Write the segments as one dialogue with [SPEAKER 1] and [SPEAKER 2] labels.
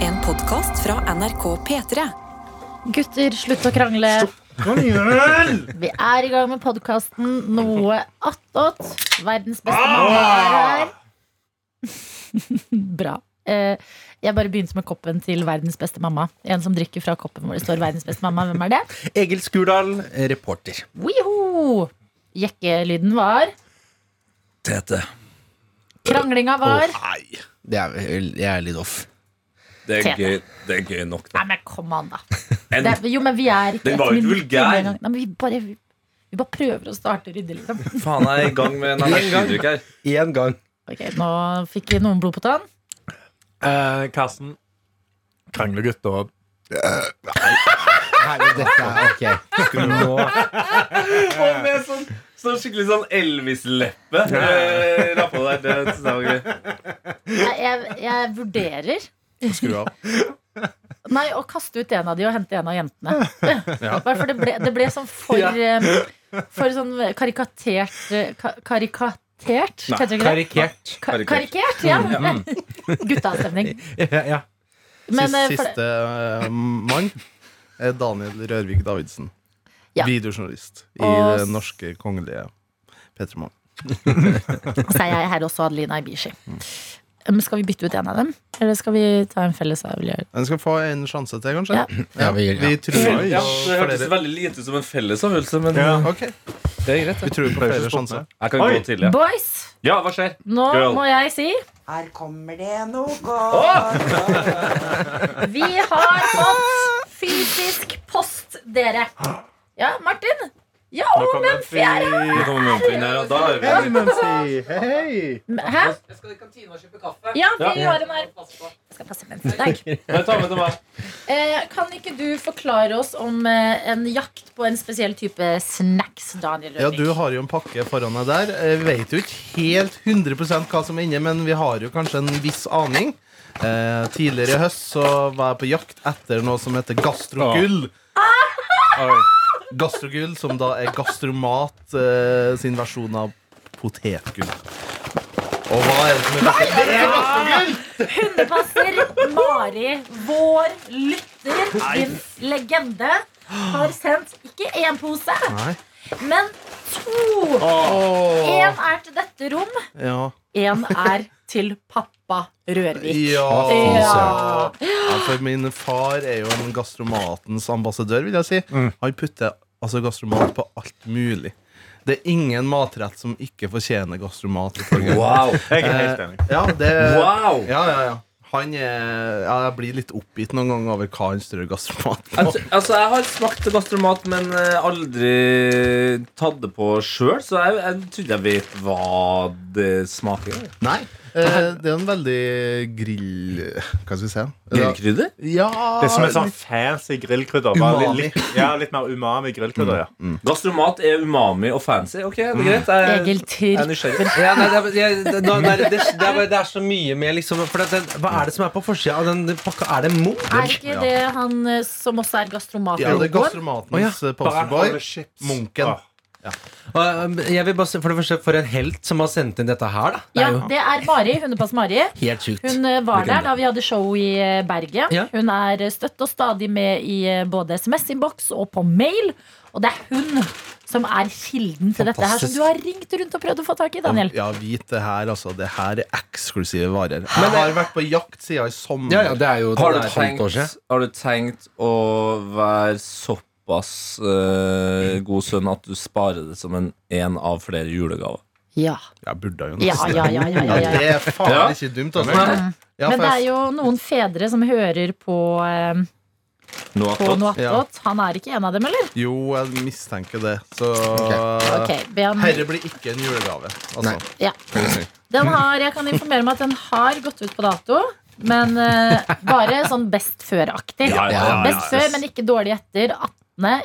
[SPEAKER 1] En podkast fra NRK P3.
[SPEAKER 2] Gutter, slutt å krangle. Vi er i gang med podkasten Noe attåt. Verdens
[SPEAKER 3] Ah!
[SPEAKER 2] beste mann er her. Bra. Eh, Jeg bare begynte med koppen til verdens beste mamma. En som drikker fra koppen hvor det står 'verdens beste mamma'. Hvem er det?
[SPEAKER 4] Egil Skurdal, reporter.
[SPEAKER 2] Wiho! Jekkelyden var.
[SPEAKER 4] Tete.
[SPEAKER 2] Kranglinga var.
[SPEAKER 4] Nei, det er, vel- jeg er litt off.
[SPEAKER 3] Det er,
[SPEAKER 2] Tete.
[SPEAKER 3] gøy, det er gøy nok, da.
[SPEAKER 2] Nei, men kom an, da.
[SPEAKER 3] En,
[SPEAKER 2] Det, er- jo, men vi er ikke
[SPEAKER 3] Den
[SPEAKER 2] ett
[SPEAKER 3] var jo ikke
[SPEAKER 2] minutt
[SPEAKER 3] vulgær.
[SPEAKER 2] unna engang. Nei, men vi bare, vi bare prøver å starte ryddig, liksom.
[SPEAKER 3] faen, jeg er i gang med en energidrikk her.
[SPEAKER 4] Én gang.
[SPEAKER 2] Ok, Nå fikk vi noen blod på tann.
[SPEAKER 5] Eh, Karsten. Kranglegutt og
[SPEAKER 4] Herre, dette er ok. Nå,
[SPEAKER 3] Og med sånn, sånn skikkelig sånn Elvis-leppe. eh, Rappa der. Det synes jeg var gøy.
[SPEAKER 2] Jeg, jeg, jeg vurderer
[SPEAKER 5] skru av.
[SPEAKER 2] Nei, å kaste ut en av de og hente en av jentene. Bare For det ble, det ble sånn for, eh, for sånn karikatert eh, ka- Karikatert?
[SPEAKER 3] Nei,
[SPEAKER 2] Heter det ikke det?
[SPEAKER 5] Karikert.
[SPEAKER 2] Ka-
[SPEAKER 3] karikert.
[SPEAKER 2] Karikert, ja. Guttastemning.
[SPEAKER 5] Ja.
[SPEAKER 2] Men eh,
[SPEAKER 6] siste
[SPEAKER 2] for,
[SPEAKER 6] siste eh, mann er Daniel Rørvik Davidsen.
[SPEAKER 2] Ja.
[SPEAKER 6] Videojournalist i
[SPEAKER 2] Og s-
[SPEAKER 6] det norske kongelige Petermann.
[SPEAKER 2] så er jeg her også Adelina Ibishi. Men skal vi bytte ut en av dem? Eller skal vi ta en felles avgjørelse?
[SPEAKER 6] Den skal få en sjanse til, kanskje?
[SPEAKER 2] Ja.
[SPEAKER 4] Ja, vi- ja.
[SPEAKER 6] tror
[SPEAKER 3] Ja, det hørtes
[SPEAKER 6] flere.
[SPEAKER 3] veldig lite ut som en fellesøvelse, men
[SPEAKER 6] Ok,
[SPEAKER 3] det er greit.
[SPEAKER 6] Vi
[SPEAKER 3] det.
[SPEAKER 6] tror på flere sjanser.
[SPEAKER 3] Jeg kan gå tidlig. Ja.
[SPEAKER 2] Boys,
[SPEAKER 3] ja, hva skjer?
[SPEAKER 2] nå
[SPEAKER 3] Girl.
[SPEAKER 2] må jeg si
[SPEAKER 7] Her kommer det noe godt.
[SPEAKER 2] Vi har fått fysisk post, dere. Ja, Martin. Ja, oh. og Mumphy er her.
[SPEAKER 3] Nå kommer Mumphy inn her, og da er vi
[SPEAKER 2] Hæ?
[SPEAKER 8] Jeg skal i kantina og kjøpe kaffe.
[SPEAKER 2] Ja, vi
[SPEAKER 3] Ja.
[SPEAKER 2] har en her.
[SPEAKER 8] Pass på.
[SPEAKER 2] Jeg skal passe mens. Takk.
[SPEAKER 3] Jeg tar med til meg.
[SPEAKER 2] Eh, kan ikke du forklare oss om eh, en jakt på en spesiell type snacks, Daniel
[SPEAKER 6] Ja,
[SPEAKER 2] Rødvik?
[SPEAKER 6] du har jo en pakke foran deg der. Eh, Vi vet jo ikke helt 100 hva som er inne, men vi har jo kanskje en viss aning. Eh, tidligere i høst så var jeg på jakt etter noe som heter gastrogull. Gastrogull, som da er Gastromat eh, sin versjon av potetgull. Og hva er det som er
[SPEAKER 2] Hundepasser Mari, vår lytter, din legende, har sendt ikke én pose,
[SPEAKER 6] Nei.
[SPEAKER 2] men to. Én er til dette rom,
[SPEAKER 6] Ja.
[SPEAKER 2] én er til pappa Rørvik.
[SPEAKER 6] Ja. ja, for min far er jo en gastromatens ambassadør, vil jeg si. Han putter altså gastromat på alt mulig. Det er ingen matrett som ikke fortjener gastromat. ifølge han.
[SPEAKER 3] Wow.
[SPEAKER 5] Jeg er helt enig.
[SPEAKER 6] Ja, det,
[SPEAKER 3] Eh, wow.
[SPEAKER 6] ja, ja, ja. Han er, ja, jeg blir litt oppgitt noen ganger over hva han strør gastromat på.
[SPEAKER 3] Altså, altså, jeg har smakt gastromat, men eh, aldri tatt det på sjøl, så jeg, jeg trodde jeg vet hva det smaker.
[SPEAKER 6] Nei, eh, det er en veldig grill... Hva skal vi si?
[SPEAKER 3] Grillkrydder?
[SPEAKER 6] Ja,
[SPEAKER 5] Det er som et sånn fancy grillkrydder. bare
[SPEAKER 6] Umami.
[SPEAKER 5] Litt, litt, ja, litt mer umami grillkrydder,
[SPEAKER 4] Mm.
[SPEAKER 5] ja.
[SPEAKER 3] Gastromat er umami og fancy. Ok, det er greit. Jeg,
[SPEAKER 2] Egil
[SPEAKER 3] jeg er
[SPEAKER 2] Tyrk.
[SPEAKER 3] nysgjerrig.
[SPEAKER 4] ja, nei, det, er, jeg- det, nå- det, er, det, er, det, er, det er så mye med liksom for det, det, Hva er det som er på forsida av den pakka? Er det Munch?
[SPEAKER 2] Er ikke det han eh, som også er gastromat?
[SPEAKER 6] Ja, det er
[SPEAKER 2] Rogan?
[SPEAKER 6] gastromatens eh, posterboy. Munken.
[SPEAKER 4] Og, eh, Jeg vil bare se, for det første, for en helt som har sendt inn dette her, da. Det
[SPEAKER 2] Ja,
[SPEAKER 4] er jo
[SPEAKER 2] det er Mari. Hundepass Mari.
[SPEAKER 4] helt sjukt.
[SPEAKER 2] Hun eh, var der da vi hadde show i eh, Bergen.
[SPEAKER 4] Ja.
[SPEAKER 2] Hun er eh, støtt og stadig med i eh, både SMS-innboks og på mail. Og det er hun som er kilden til dette her, som
[SPEAKER 4] Fantastisk.
[SPEAKER 2] du har ringt rundt og prøvd å få tak i, Daniel.
[SPEAKER 6] Ja, vit det her, altså. Det her er eksklusive varer. Jeg har vært på jakt siden i sommer.
[SPEAKER 4] Ja, ja, det er jo
[SPEAKER 3] Har du,
[SPEAKER 4] det er et halvt år
[SPEAKER 3] tenkt,
[SPEAKER 4] siden.
[SPEAKER 3] har du tenkt å være såpass eh, god sønn at du sparer det som en én av flere julegaver?
[SPEAKER 2] Ja,
[SPEAKER 6] Jeg burde jo
[SPEAKER 2] ja,
[SPEAKER 6] nesten.
[SPEAKER 2] ja, ja, ja, ja, ja.
[SPEAKER 6] Det er faen
[SPEAKER 3] Ja.
[SPEAKER 6] ikke dumt, altså. Ja,
[SPEAKER 2] Men
[SPEAKER 6] for
[SPEAKER 2] det er
[SPEAKER 6] jeg-
[SPEAKER 2] jo noen fedre som hører på, eh,
[SPEAKER 3] Nå,
[SPEAKER 2] på
[SPEAKER 3] nå,
[SPEAKER 2] noe attåt. Han er ikke en av dem, eller?
[SPEAKER 6] Jo, jeg mistenker det. Så
[SPEAKER 2] Ok, be han
[SPEAKER 6] Herre blir ikke en julegave. Altså.
[SPEAKER 2] Den har, jeg kan informere om at den har gått ut på dato. Men eh, bare sånn best før-aktig.
[SPEAKER 3] Ja, ja, ja, ja.
[SPEAKER 2] Best før, men ikke dårlig etter. 18.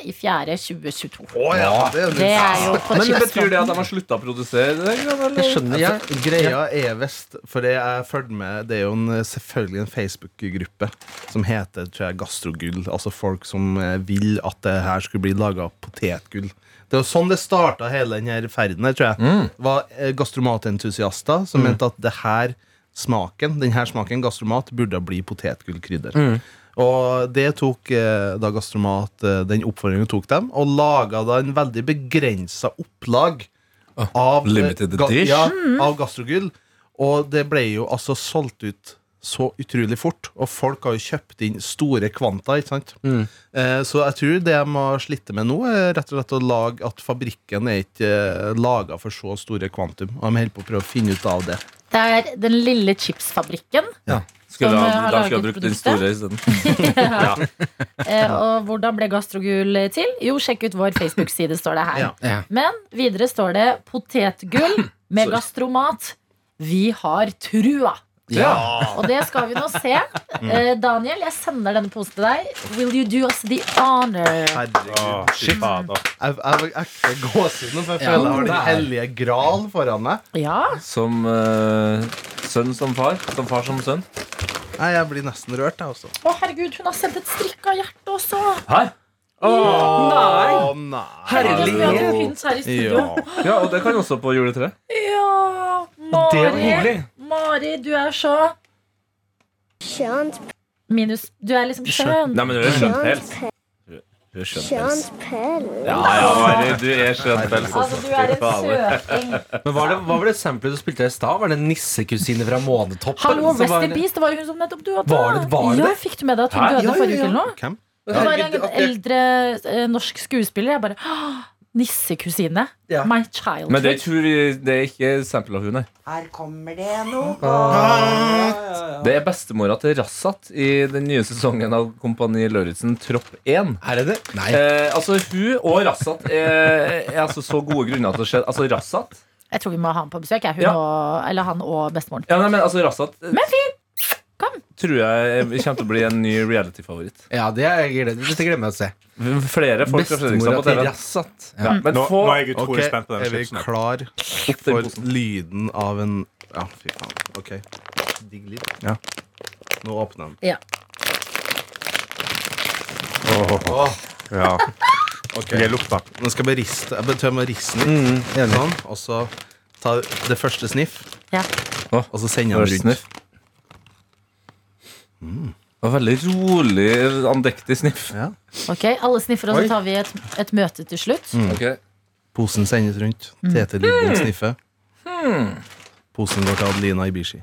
[SPEAKER 2] i 4. 2022.
[SPEAKER 6] Å ja, det er jo
[SPEAKER 2] Det er jo på
[SPEAKER 3] men Betyr
[SPEAKER 2] tidsfronten.
[SPEAKER 3] det at de har slutta å produsere? det, eller?
[SPEAKER 4] Jeg skjønner, ja.
[SPEAKER 6] altså, Greia er visst, for det jeg følger med Det er jo en, selvfølgelig en Facebook-gruppe som heter tror jeg, Gastrogull. Altså folk som eh, vil at det her skulle bli laga potetgull. Det er jo sånn det starta
[SPEAKER 4] Mm.
[SPEAKER 6] hele denne ferden her, tror jeg. Det var eh, gastromatentusiaster som mente at det her smaken, denne smaken gastromat burde bli potetgullkrydder.
[SPEAKER 4] Mm.
[SPEAKER 6] Og det tok eh, da gastromat eh, den oppfordringen tok dem, og laga da en veldig begrensa opplag av, eh,
[SPEAKER 3] limited edition.
[SPEAKER 6] ja,
[SPEAKER 2] Mm.
[SPEAKER 6] av gastrogull. Og det ble jo altså solgt ut så utrolig fort, og folk har jo kjøpt inn store kvanta. ikke sant? Eh, Så jeg tror det jeg må slite med nå, er rett og slett å lage at fabrikken er ikke laga for så store kvantum. Og de holder på å prøve å finne ut av det.
[SPEAKER 2] Det er den lille chipsfabrikken.
[SPEAKER 3] Skulle
[SPEAKER 2] Som, eh,
[SPEAKER 3] ha,
[SPEAKER 2] har
[SPEAKER 3] da skulle jeg
[SPEAKER 2] laget
[SPEAKER 3] brukt den
[SPEAKER 2] produktet.
[SPEAKER 3] store isteden.
[SPEAKER 2] Eh, og hvordan ble gastrogull til? Jo, sjekk ut vår Facebook-side, står det her.
[SPEAKER 6] Ja.
[SPEAKER 4] Ja.
[SPEAKER 2] Men videre står det potetgull med gastromat. Vi har trua. Og det skal vi nå se. Eh, Daniel, jeg sender denne posen til deg. Will you do us the honor?
[SPEAKER 6] Herregud.
[SPEAKER 5] Fy fader.
[SPEAKER 6] Jeg, jeg var ekte gåsehud nå, for jeg føler jeg har den hellige gral foran meg.
[SPEAKER 2] Ja.
[SPEAKER 3] Som eh, sønn som far. Som far som sønn.
[SPEAKER 6] Nei, jeg blir nesten rørt, jeg også.
[SPEAKER 2] Å, herregud, hun har sendt et strikka hjerte også.
[SPEAKER 3] Her!
[SPEAKER 6] Å
[SPEAKER 3] Nei!
[SPEAKER 6] nei.
[SPEAKER 2] Herregud, vi hadde pynt her i studio.
[SPEAKER 6] Ja.
[SPEAKER 3] Ja, og det kan også på juletreet.
[SPEAKER 2] Ja,
[SPEAKER 4] Det var
[SPEAKER 2] Mari.
[SPEAKER 4] hyggelig.
[SPEAKER 2] Mari, du er så Skjønt. Minus Du er liksom skjønn.
[SPEAKER 3] Nei, men du er skjønn pels. Du er skjønn pels. Ja, ja, Mari, du er skjønn pels.
[SPEAKER 2] Altså, du er en søking.
[SPEAKER 4] Men var det, Hva var det eksempelet du spilte i stad? Var det nissekusine fra Månetoppen?
[SPEAKER 2] Hallo,
[SPEAKER 4] som
[SPEAKER 2] Rest
[SPEAKER 4] var-
[SPEAKER 2] in Peace, det var jo hun som nettopp døde.
[SPEAKER 4] Var det- var det?
[SPEAKER 2] Ja, fikk du med deg at hun
[SPEAKER 3] Hæ?
[SPEAKER 2] døde
[SPEAKER 6] Ja, ja,
[SPEAKER 2] forrige uke
[SPEAKER 6] ja.
[SPEAKER 2] eller noe?
[SPEAKER 6] Hvem?
[SPEAKER 2] Det var en
[SPEAKER 6] Herregud, at jeg-
[SPEAKER 2] eldre eh, norsk skuespiller. Jeg bare «Åh, Nissekusine.
[SPEAKER 4] Ja.
[SPEAKER 2] My child.
[SPEAKER 3] Men det tror vi Det er ikke sample av hun, nei.
[SPEAKER 7] Her kommer det noe godt.
[SPEAKER 3] Det er bestemora til Rassat i den nye sesongen av Kompani Lauritzen, Tropp 1.
[SPEAKER 4] Er det det? Nei.
[SPEAKER 3] Eh, altså, hun og Rassat er, er altså så gode grunner til å skje Altså, Rassat
[SPEAKER 2] Jeg tror vi må ha han på besøk. Jeg, hun
[SPEAKER 3] Ja.
[SPEAKER 2] og, eller han og bestemoren.
[SPEAKER 3] Ja, nei, men altså, Rassat eh,
[SPEAKER 2] Men fint!
[SPEAKER 3] tror jeg kommer til å bli en ny reality-favoritt.
[SPEAKER 4] Ja, det er jeg gleder Dette glemmer jeg å se.
[SPEAKER 3] Flere folk fra Fredrikstad
[SPEAKER 4] Bestemora
[SPEAKER 3] på
[SPEAKER 4] til
[SPEAKER 3] TV.
[SPEAKER 4] Rassat.
[SPEAKER 3] Ja, men
[SPEAKER 5] Nå,
[SPEAKER 3] få
[SPEAKER 5] nå er jeg
[SPEAKER 6] Ok,
[SPEAKER 5] utrolig spent på
[SPEAKER 6] er
[SPEAKER 5] den
[SPEAKER 6] vi
[SPEAKER 5] chipsen.
[SPEAKER 6] klar
[SPEAKER 3] opp den
[SPEAKER 6] for
[SPEAKER 3] posen.
[SPEAKER 6] lyden av en Ja, fy faen. Ok. Digg lyd.
[SPEAKER 3] Ja.
[SPEAKER 6] Nå åpner den.
[SPEAKER 2] Ja.
[SPEAKER 6] Åh,
[SPEAKER 5] Ja.
[SPEAKER 6] ok.
[SPEAKER 5] Jeg lukter.
[SPEAKER 6] Nå skal jeg bare riste. Jeg betyr med risten litt. Sånn, og så ta det første sniff,
[SPEAKER 2] Ja.
[SPEAKER 6] og så sender
[SPEAKER 3] Første
[SPEAKER 6] jeg den rundt.
[SPEAKER 3] sniff. Det var veldig rolig, andektig sniff.
[SPEAKER 2] Ok, Alle sniffer, og
[SPEAKER 3] Oi.
[SPEAKER 2] så
[SPEAKER 3] Mm.
[SPEAKER 2] tar vi et, et møte til slutt.
[SPEAKER 3] Ok.
[SPEAKER 6] Posen sendes rundt. Tete Lidbom sniffer. Posen går til Adelina Ibishi.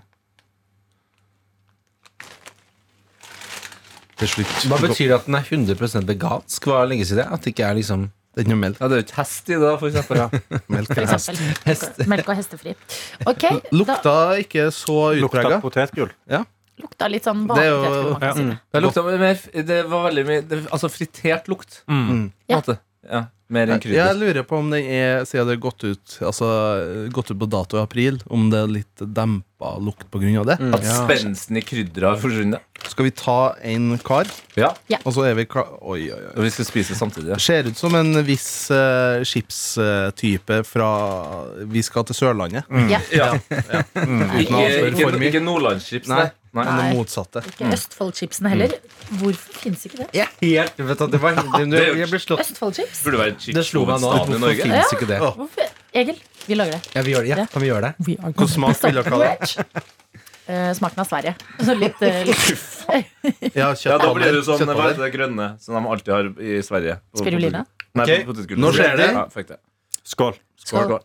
[SPEAKER 6] Til slutt
[SPEAKER 4] Hva betyr det at den er 100 vegansk? Hva lenge siden det? er? At det ikke er liksom
[SPEAKER 6] Det er ikke noe melk.
[SPEAKER 3] Ja, det er jo ikke hest i det, for eksempel.
[SPEAKER 6] melk
[SPEAKER 2] For
[SPEAKER 6] er hest.
[SPEAKER 2] eksempel. Melk og hestefri. Ok, da
[SPEAKER 6] Lukta ikke så
[SPEAKER 5] Lukter
[SPEAKER 6] utprega.
[SPEAKER 5] potetgull.
[SPEAKER 2] lukta litt sånn
[SPEAKER 6] Det er jo-
[SPEAKER 2] bakpotet.
[SPEAKER 5] ja,
[SPEAKER 3] Det lukta mer Det var veldig mye det, Altså fritert lukt. på en
[SPEAKER 2] Ja.
[SPEAKER 3] måte. Mm. ja. Mer enn krydder.
[SPEAKER 6] Jeg lurer på om den er, siden det har gått ut Altså gått ut på dato i april, om det er litt dempa lukt pga. det.
[SPEAKER 3] At spensten i krydderet har forsvunnet.
[SPEAKER 6] Skal vi ta en kar,
[SPEAKER 3] Ja.
[SPEAKER 6] og så er vi klar Oi, oi, oi.
[SPEAKER 3] Og vi skal spise samtidig. Ja.
[SPEAKER 6] Ser ut som en viss eh, chipstype fra Vi skal til Sørlandet.
[SPEAKER 2] Ja,
[SPEAKER 3] Ikke,
[SPEAKER 6] avsløre
[SPEAKER 3] ikke,
[SPEAKER 6] for mye.
[SPEAKER 3] ikke Nordlandschips, nei.
[SPEAKER 6] Nei.
[SPEAKER 3] nei.
[SPEAKER 6] Men
[SPEAKER 2] Nei.
[SPEAKER 6] det motsatte.
[SPEAKER 2] ikke Østfoldchipsene heller. Hvorfor fins ikke det?
[SPEAKER 4] Jeg er helt vet du, det var,
[SPEAKER 3] er jo-
[SPEAKER 4] Jeg ble slått
[SPEAKER 2] Østfoldchips?
[SPEAKER 3] Burde være
[SPEAKER 4] Det slo meg nå.
[SPEAKER 3] chipshovedstaden i
[SPEAKER 4] Hvorfor
[SPEAKER 3] Norge.
[SPEAKER 4] fins ikke det?
[SPEAKER 6] Ja.
[SPEAKER 2] Hvorfor? Egil, vi lager det.
[SPEAKER 4] Ja, vi gjør det. Ja, kan vi gjøre det?
[SPEAKER 2] We are
[SPEAKER 6] Hvilken smak vil dere ha?
[SPEAKER 2] Rich. Eh, smaken av Sverige. Så litt, eh, litt.
[SPEAKER 6] Ja,
[SPEAKER 3] Ja, da blir
[SPEAKER 6] kjøttboller.
[SPEAKER 3] du sånn hva
[SPEAKER 6] kjøttboller.
[SPEAKER 3] heter det grønne som de alltid har i Sverige. På-
[SPEAKER 2] Spirulina?
[SPEAKER 3] Nei,
[SPEAKER 6] Ok,
[SPEAKER 3] på potetgull.
[SPEAKER 6] nå skjer det.
[SPEAKER 3] Ja, fuck det.
[SPEAKER 5] Skål.
[SPEAKER 3] Skål.
[SPEAKER 2] Skål.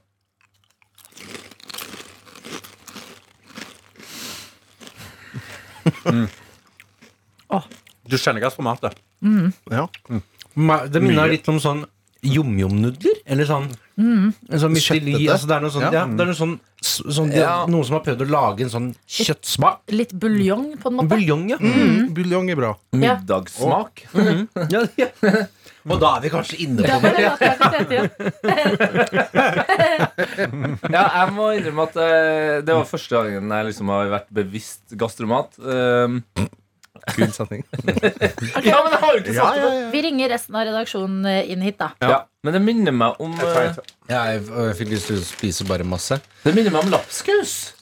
[SPEAKER 5] Du kjenner gastromatet.
[SPEAKER 6] Ja.
[SPEAKER 4] Ma- Det minner litt om sånn jomjomnudler. Eller sånn, en sånn Michelin.
[SPEAKER 6] Kjøttete.
[SPEAKER 4] Altså, det er noe sånn,
[SPEAKER 6] Ja.
[SPEAKER 4] ja, det er noe sånn, s- sånn de,
[SPEAKER 3] Ja.
[SPEAKER 4] Noen som har prøvd å lage en sånn kjøttsmak.
[SPEAKER 2] litt buljong, på en måte.
[SPEAKER 4] Buljong, ja. Mm.
[SPEAKER 6] Buljong er bra.
[SPEAKER 2] Ja.
[SPEAKER 3] Middagssmak.
[SPEAKER 4] ja, ja. Og da er vi kanskje inne
[SPEAKER 2] Ja,
[SPEAKER 4] på
[SPEAKER 2] bare la det være til tiden.
[SPEAKER 3] Ja, jeg må innrømme at eh, det var første gangen jeg liksom har vært bevisst gastromat. Um,
[SPEAKER 6] Kul setning.
[SPEAKER 3] ja, men jeg har jo ikke sagt det!
[SPEAKER 2] Vi ringer resten av redaksjonen eh, inn hit, da.
[SPEAKER 3] Ja, men det minner meg om eh,
[SPEAKER 4] Jeg, jeg fikk lyst til å spise bare masse.
[SPEAKER 3] Det minner meg om lapskaus.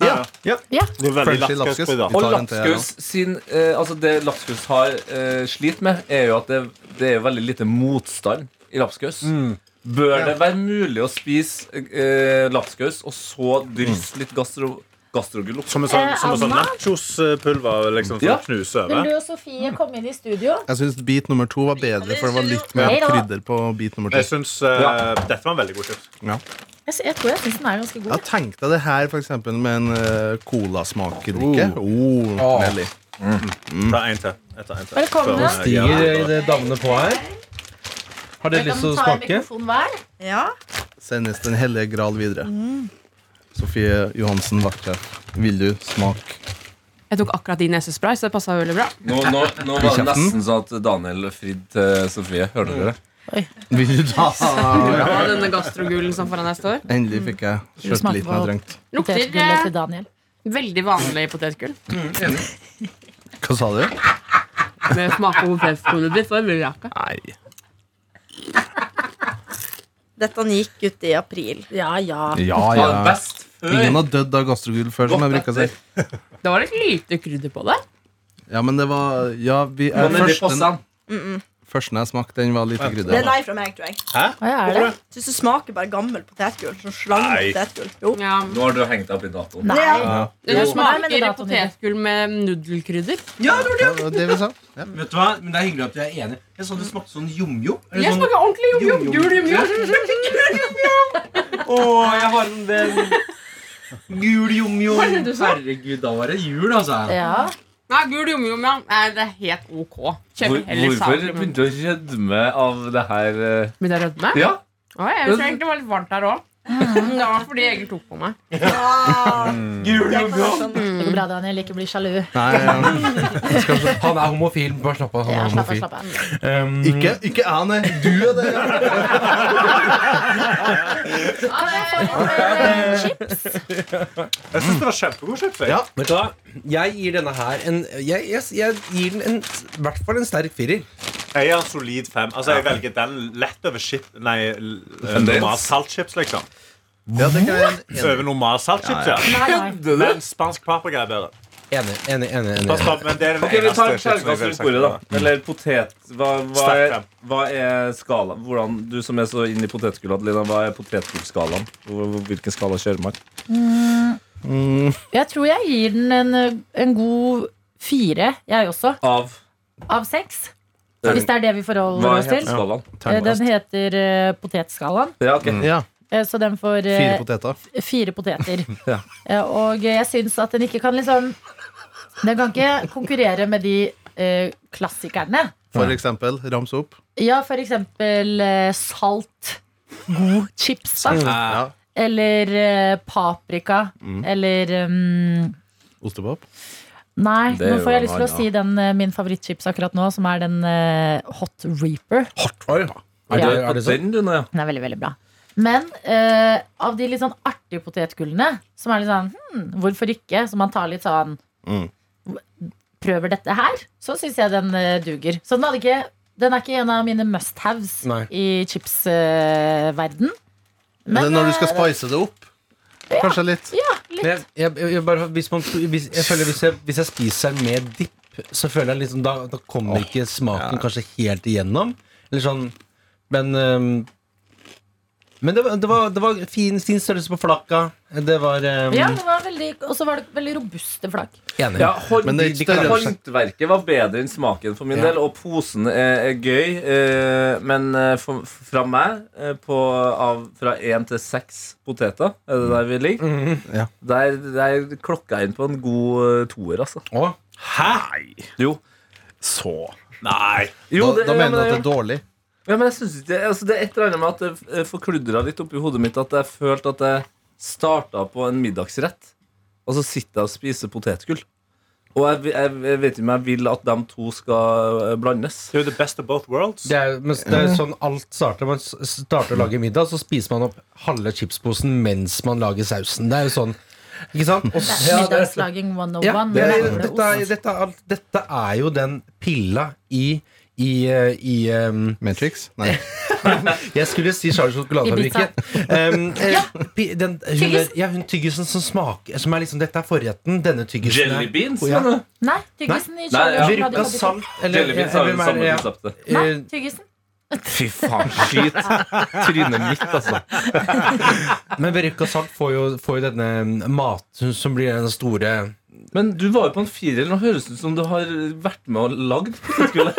[SPEAKER 5] Ja. ja.
[SPEAKER 2] Ja.
[SPEAKER 5] Det er veldig
[SPEAKER 6] Frenchy
[SPEAKER 5] lapskaus
[SPEAKER 6] lapskaus.
[SPEAKER 5] på i dag.
[SPEAKER 6] Vi
[SPEAKER 3] Og
[SPEAKER 6] tar en til her nå.
[SPEAKER 3] lapskaus sin eh, Altså det lapskaus har eh, slitt med, er jo at det, det er veldig lite motstand i lapskaus.
[SPEAKER 6] Mm. Mm.
[SPEAKER 3] Bør det være mulig å spise eh, lapskaus og så drysse litt gastro... Gastrogull.
[SPEAKER 5] Som en sånn,
[SPEAKER 2] Eh,
[SPEAKER 5] som en sånn
[SPEAKER 2] Anna?
[SPEAKER 5] nachospulver liksom, for
[SPEAKER 3] Ja.
[SPEAKER 5] å knuse
[SPEAKER 2] Vil
[SPEAKER 5] over.
[SPEAKER 2] du og Sofie komme inn i studio?
[SPEAKER 6] Jeg syns bit nummer to var bedre, for det var litt mer
[SPEAKER 2] Nei da.
[SPEAKER 6] krydder på bit nummer to.
[SPEAKER 5] Jeg syns eh,
[SPEAKER 3] Ja.
[SPEAKER 5] dette var en veldig god chips.
[SPEAKER 2] Jeg, sy- jeg tror jeg syns den er ganske
[SPEAKER 6] Ja,
[SPEAKER 2] god.
[SPEAKER 6] Tenk deg det her for eksempel med en eh, colasmakerdrikke. Oh, Nelly.
[SPEAKER 3] Mm.
[SPEAKER 5] Ta en til. Jeg tar en til.
[SPEAKER 2] Velkommen.
[SPEAKER 5] Før hun
[SPEAKER 4] Stiger
[SPEAKER 5] reagerer.
[SPEAKER 4] eh, damene på her? Har dere
[SPEAKER 2] Dere kan
[SPEAKER 4] lyst
[SPEAKER 2] ta
[SPEAKER 4] til å
[SPEAKER 2] en
[SPEAKER 4] smake?
[SPEAKER 2] mikrofon hver.
[SPEAKER 7] Ja.
[SPEAKER 6] Sendes Den hellige gral videre. Sofie Johansen, vaktsjef. Vil du smake?
[SPEAKER 9] Jeg tok akkurat din nesespray, så det passa veldig bra.
[SPEAKER 3] Nå, nå, nå var det nesten sånn at Daniel fridde til Sofie.
[SPEAKER 6] Mm.
[SPEAKER 3] Hører dere det?
[SPEAKER 6] Vil du da?
[SPEAKER 9] Ja, denne gastrogullen som foran deg står.
[SPEAKER 6] Endelig fikk jeg sjøltilliten jeg trengte.
[SPEAKER 9] Lukter
[SPEAKER 2] Potetgullet
[SPEAKER 9] eh,
[SPEAKER 2] til Daniel.
[SPEAKER 9] veldig vanlig potetgull.
[SPEAKER 6] Hva sa du?
[SPEAKER 9] Det smaker potetgullet ditt, så det blir jakka.
[SPEAKER 6] Nei.
[SPEAKER 7] Dette gikk ut i april.
[SPEAKER 2] Ja, ja.
[SPEAKER 6] Ja,
[SPEAKER 3] Ja,
[SPEAKER 6] ja.
[SPEAKER 3] best
[SPEAKER 6] Ingen
[SPEAKER 3] før.
[SPEAKER 6] har dødd av gastrogull før, som jeg bruker å si.
[SPEAKER 9] Det var litt lite krydder på det.
[SPEAKER 6] Ja, men det var Ja, vi
[SPEAKER 3] Hva
[SPEAKER 6] er
[SPEAKER 3] med det
[SPEAKER 6] først den,
[SPEAKER 3] passet?
[SPEAKER 6] Førsten jeg smakte, den var lite
[SPEAKER 7] Det er
[SPEAKER 6] krydder.
[SPEAKER 7] nei fra meg, tror jeg.
[SPEAKER 2] Hva er det?
[SPEAKER 7] Syns det smaker bare gammel potetgull. Sånn slangen
[SPEAKER 5] Nei.
[SPEAKER 7] potetgull. Jo.
[SPEAKER 9] Ja.
[SPEAKER 3] Nå har du hengt deg opp i datoen.
[SPEAKER 2] Nei.
[SPEAKER 7] Ja.
[SPEAKER 9] Det
[SPEAKER 2] Nei, men det
[SPEAKER 9] smaker
[SPEAKER 2] er datoen i det.
[SPEAKER 9] potetgull med nudelkrydder.
[SPEAKER 6] Ja, det var det vi sa. Ja.
[SPEAKER 4] Vet du hva? Men Det er hyggelig at vi er enige. Jeg så det smakte sånn jomjom. Eller
[SPEAKER 9] Jeg
[SPEAKER 4] sånn-
[SPEAKER 9] smaker ordentlig jom-jom.
[SPEAKER 4] Jom-jom.
[SPEAKER 9] Gul jom-jom.
[SPEAKER 4] Å, jeg har en venn. Gul jomjom.
[SPEAKER 9] Hva er det du sa?
[SPEAKER 4] Herregud, da var det jul, altså.
[SPEAKER 2] Ja.
[SPEAKER 9] Nei, gul jom-jom, ja. Nei, det er helt ok.
[SPEAKER 3] Hvor,
[SPEAKER 9] Kjøper heller
[SPEAKER 3] hvorfor
[SPEAKER 9] saker. men-
[SPEAKER 3] begynte du å rødme av det her? eh?
[SPEAKER 9] Begynte jeg å rødme?
[SPEAKER 3] Ja,
[SPEAKER 9] Å, jeg tror egentlig det var litt varmt der òg.
[SPEAKER 2] Ah.
[SPEAKER 9] Det var fordi Egil tok på meg.
[SPEAKER 7] Ah,
[SPEAKER 4] Gul
[SPEAKER 7] jeg kan sånn skjønne.
[SPEAKER 2] Det går bra, Daniel. Ikke bli sjalu.
[SPEAKER 6] Nei, ja.
[SPEAKER 4] Han er homofil. Bare slapp av.
[SPEAKER 2] Ja,
[SPEAKER 4] Han
[SPEAKER 2] slapp av,
[SPEAKER 4] er homofil.
[SPEAKER 2] slapp av.
[SPEAKER 4] Um,
[SPEAKER 6] Ikke, ikke jeg, nei. Du er det. ja.
[SPEAKER 2] Ja, det er for- eh, Chips.
[SPEAKER 3] Mm.
[SPEAKER 5] Jeg syns det var kjempegod chips. jeg.
[SPEAKER 6] Ja.
[SPEAKER 4] Vet du hva? Jeg gir denne her en Jeg, jeg, jeg gir den en, i hvert fall en sterk firer.
[SPEAKER 5] Jeg gir en solid fem. Altså, jeg velger den lett over chip, nei, l- eh,
[SPEAKER 3] Fremdeles.
[SPEAKER 5] normal saltchips, liksom.
[SPEAKER 6] Ja, det kan
[SPEAKER 7] Eh,
[SPEAKER 6] jeg
[SPEAKER 5] Over normal saltchips, ja.
[SPEAKER 2] Nei, nei.
[SPEAKER 5] Men spansk paprika er bedre.
[SPEAKER 4] Enig. enig, enig,
[SPEAKER 5] Pass
[SPEAKER 4] enig.
[SPEAKER 5] på, men det er den
[SPEAKER 3] Ok, vi tar
[SPEAKER 5] eneste chipsen jeg
[SPEAKER 3] skjærgast
[SPEAKER 5] ville
[SPEAKER 3] rundt bordet,
[SPEAKER 5] sagt.
[SPEAKER 3] da. Eller potet. Hva, hva,
[SPEAKER 5] Sterk
[SPEAKER 3] er,
[SPEAKER 5] fem.
[SPEAKER 3] hva er skala? Hvordan, du som er så inn i potetgull, Adelina, hva er potetgullskalaen? Hvor- hvor- Hvilken skala kjører man?
[SPEAKER 2] Jeg tror jeg gir den en, eh, en god fire, jeg også.
[SPEAKER 3] Av
[SPEAKER 2] Av seks. Hvis det er det vi forholder
[SPEAKER 3] Hva
[SPEAKER 2] oss
[SPEAKER 3] heter
[SPEAKER 2] til.
[SPEAKER 3] skalaen?
[SPEAKER 2] Eh, Den
[SPEAKER 6] Terningkast.
[SPEAKER 2] heter eh, Potetskalaen,
[SPEAKER 3] Ja, ok.
[SPEAKER 6] Ja,
[SPEAKER 2] eh, så den får eh,
[SPEAKER 6] fire poteter.
[SPEAKER 2] fire poteter.
[SPEAKER 3] Ja.
[SPEAKER 2] Eh, Og jeg syns at den ikke kan liksom Den kan ikke konkurrere med de eh, klassikerne.
[SPEAKER 6] For eksempel, ramse opp.
[SPEAKER 2] Ja, for eksempel eh, salt. God chips,
[SPEAKER 3] Mm.
[SPEAKER 2] da.
[SPEAKER 6] Ja.
[SPEAKER 2] Eller eh, paprika. Eller um,
[SPEAKER 6] Ostepop.
[SPEAKER 2] Nei,
[SPEAKER 3] Det er
[SPEAKER 2] nå
[SPEAKER 3] jo
[SPEAKER 2] får jeg
[SPEAKER 3] en
[SPEAKER 2] lyst til å
[SPEAKER 3] annen.
[SPEAKER 2] si den eh, min favorittchips akkurat nå, som er den eh, Hot Reaper.
[SPEAKER 4] Er det,
[SPEAKER 2] Ja.
[SPEAKER 4] er det sånn?
[SPEAKER 3] Den, du, nå, ja.
[SPEAKER 2] Den er veldig, veldig bra. Men eh, av de litt sånn artige potetgullene, som er litt sånn hm, hvorfor ikke, så man tar litt sånn
[SPEAKER 6] Mm.
[SPEAKER 2] Prøver dette her, så syns jeg den eh, duger. Så den, hadde ikke, den er ikke en av mine must-haves
[SPEAKER 4] Nei.
[SPEAKER 2] i chipsverden. eh,
[SPEAKER 6] Men når du skal spice det opp, kanskje litt.
[SPEAKER 4] Men jeg, jeg, jeg bare, hvis, man, hvis, jeg føler, hvis, jeg, hvis jeg spiser den med dipp, så føler jeg liksom Da, da kommer ikke smaken kanskje helt igjennom. Eller sånn Men ehm, Men det, var- det, var, det var fin, fin størrelse på flakka. Det var ehm,
[SPEAKER 2] Ja, det var veldig, Og så var det veldig robuste flak.
[SPEAKER 4] Enig.
[SPEAKER 3] Ja, hånd,
[SPEAKER 6] Men det er ikke størrelse.
[SPEAKER 3] håndverket var bedre enn smaken for min
[SPEAKER 4] Ja.
[SPEAKER 3] del, og posen er, er gøy. eh, men eh, for, fra meg, eh, på, av, fra én til seks poteter, er det der vi ligger,
[SPEAKER 6] Mhm. ja.
[SPEAKER 3] der, der klokka jeg inn på en god eh, toer, altså.
[SPEAKER 4] Å,
[SPEAKER 5] Hei!
[SPEAKER 3] Jo.
[SPEAKER 5] Så Nei.
[SPEAKER 3] Jo,
[SPEAKER 6] da, da
[SPEAKER 3] ja,
[SPEAKER 6] mener du at
[SPEAKER 3] men-
[SPEAKER 6] det er dårlig.
[SPEAKER 3] Ja, men jeg synes ikke altså, Det er et eller annet med at det eh, forkludra litt oppi hodet mitt at jeg følte at jeg starta på en middagsrett, og så sitter jeg og spiser potetgull. Og jeg, vi- jeg, jeg vet ikke om jeg vil at de to skal eh, blandes.
[SPEAKER 5] Det er jo the best of both worlds.
[SPEAKER 4] Det er, jo- men det er jo sånn alt starter. Man s- starter å lage middag, så spiser man opp halve chipsposen mens man lager sausen. Det er jo sånn. Ikke sant? Og så- Ja, det er-
[SPEAKER 2] Middagslaging 101.
[SPEAKER 4] ja, det
[SPEAKER 2] med
[SPEAKER 4] er,
[SPEAKER 2] levende
[SPEAKER 4] dette, er,
[SPEAKER 2] ost.
[SPEAKER 4] dette, er, alt- dette er jo den pilla i i, eh, i ehm,
[SPEAKER 6] Matrix? Nei.
[SPEAKER 4] Jeg skulle si Charles sjokoladefabrikken. Um, eh, pi- den, hun, er-
[SPEAKER 2] Tyggisen?
[SPEAKER 4] ja, hun tyggisen som smaker Som er liksom Dette er forretten. Denne tyggisen. er-
[SPEAKER 3] Jelly beans,
[SPEAKER 4] Ja.
[SPEAKER 3] mener du?
[SPEAKER 2] Nei, tyggisen i
[SPEAKER 3] Nei, ja.
[SPEAKER 2] Charlie
[SPEAKER 4] Virka
[SPEAKER 2] Chocolate-
[SPEAKER 4] salt eller, eh,
[SPEAKER 3] Jelly beans har jo det
[SPEAKER 4] eller,
[SPEAKER 3] samme
[SPEAKER 4] ja.
[SPEAKER 3] konseptet.
[SPEAKER 2] Nei,
[SPEAKER 4] Eh,
[SPEAKER 2] tyggisen.
[SPEAKER 3] Fy faen, skyt trynet mitt, altså.
[SPEAKER 4] Men Veruca Salt får jo, får jo denne ehm, mat som blir den store
[SPEAKER 3] Men du var jo på en firer. Nå høres det ut som du har vært med og lagd potetgullet.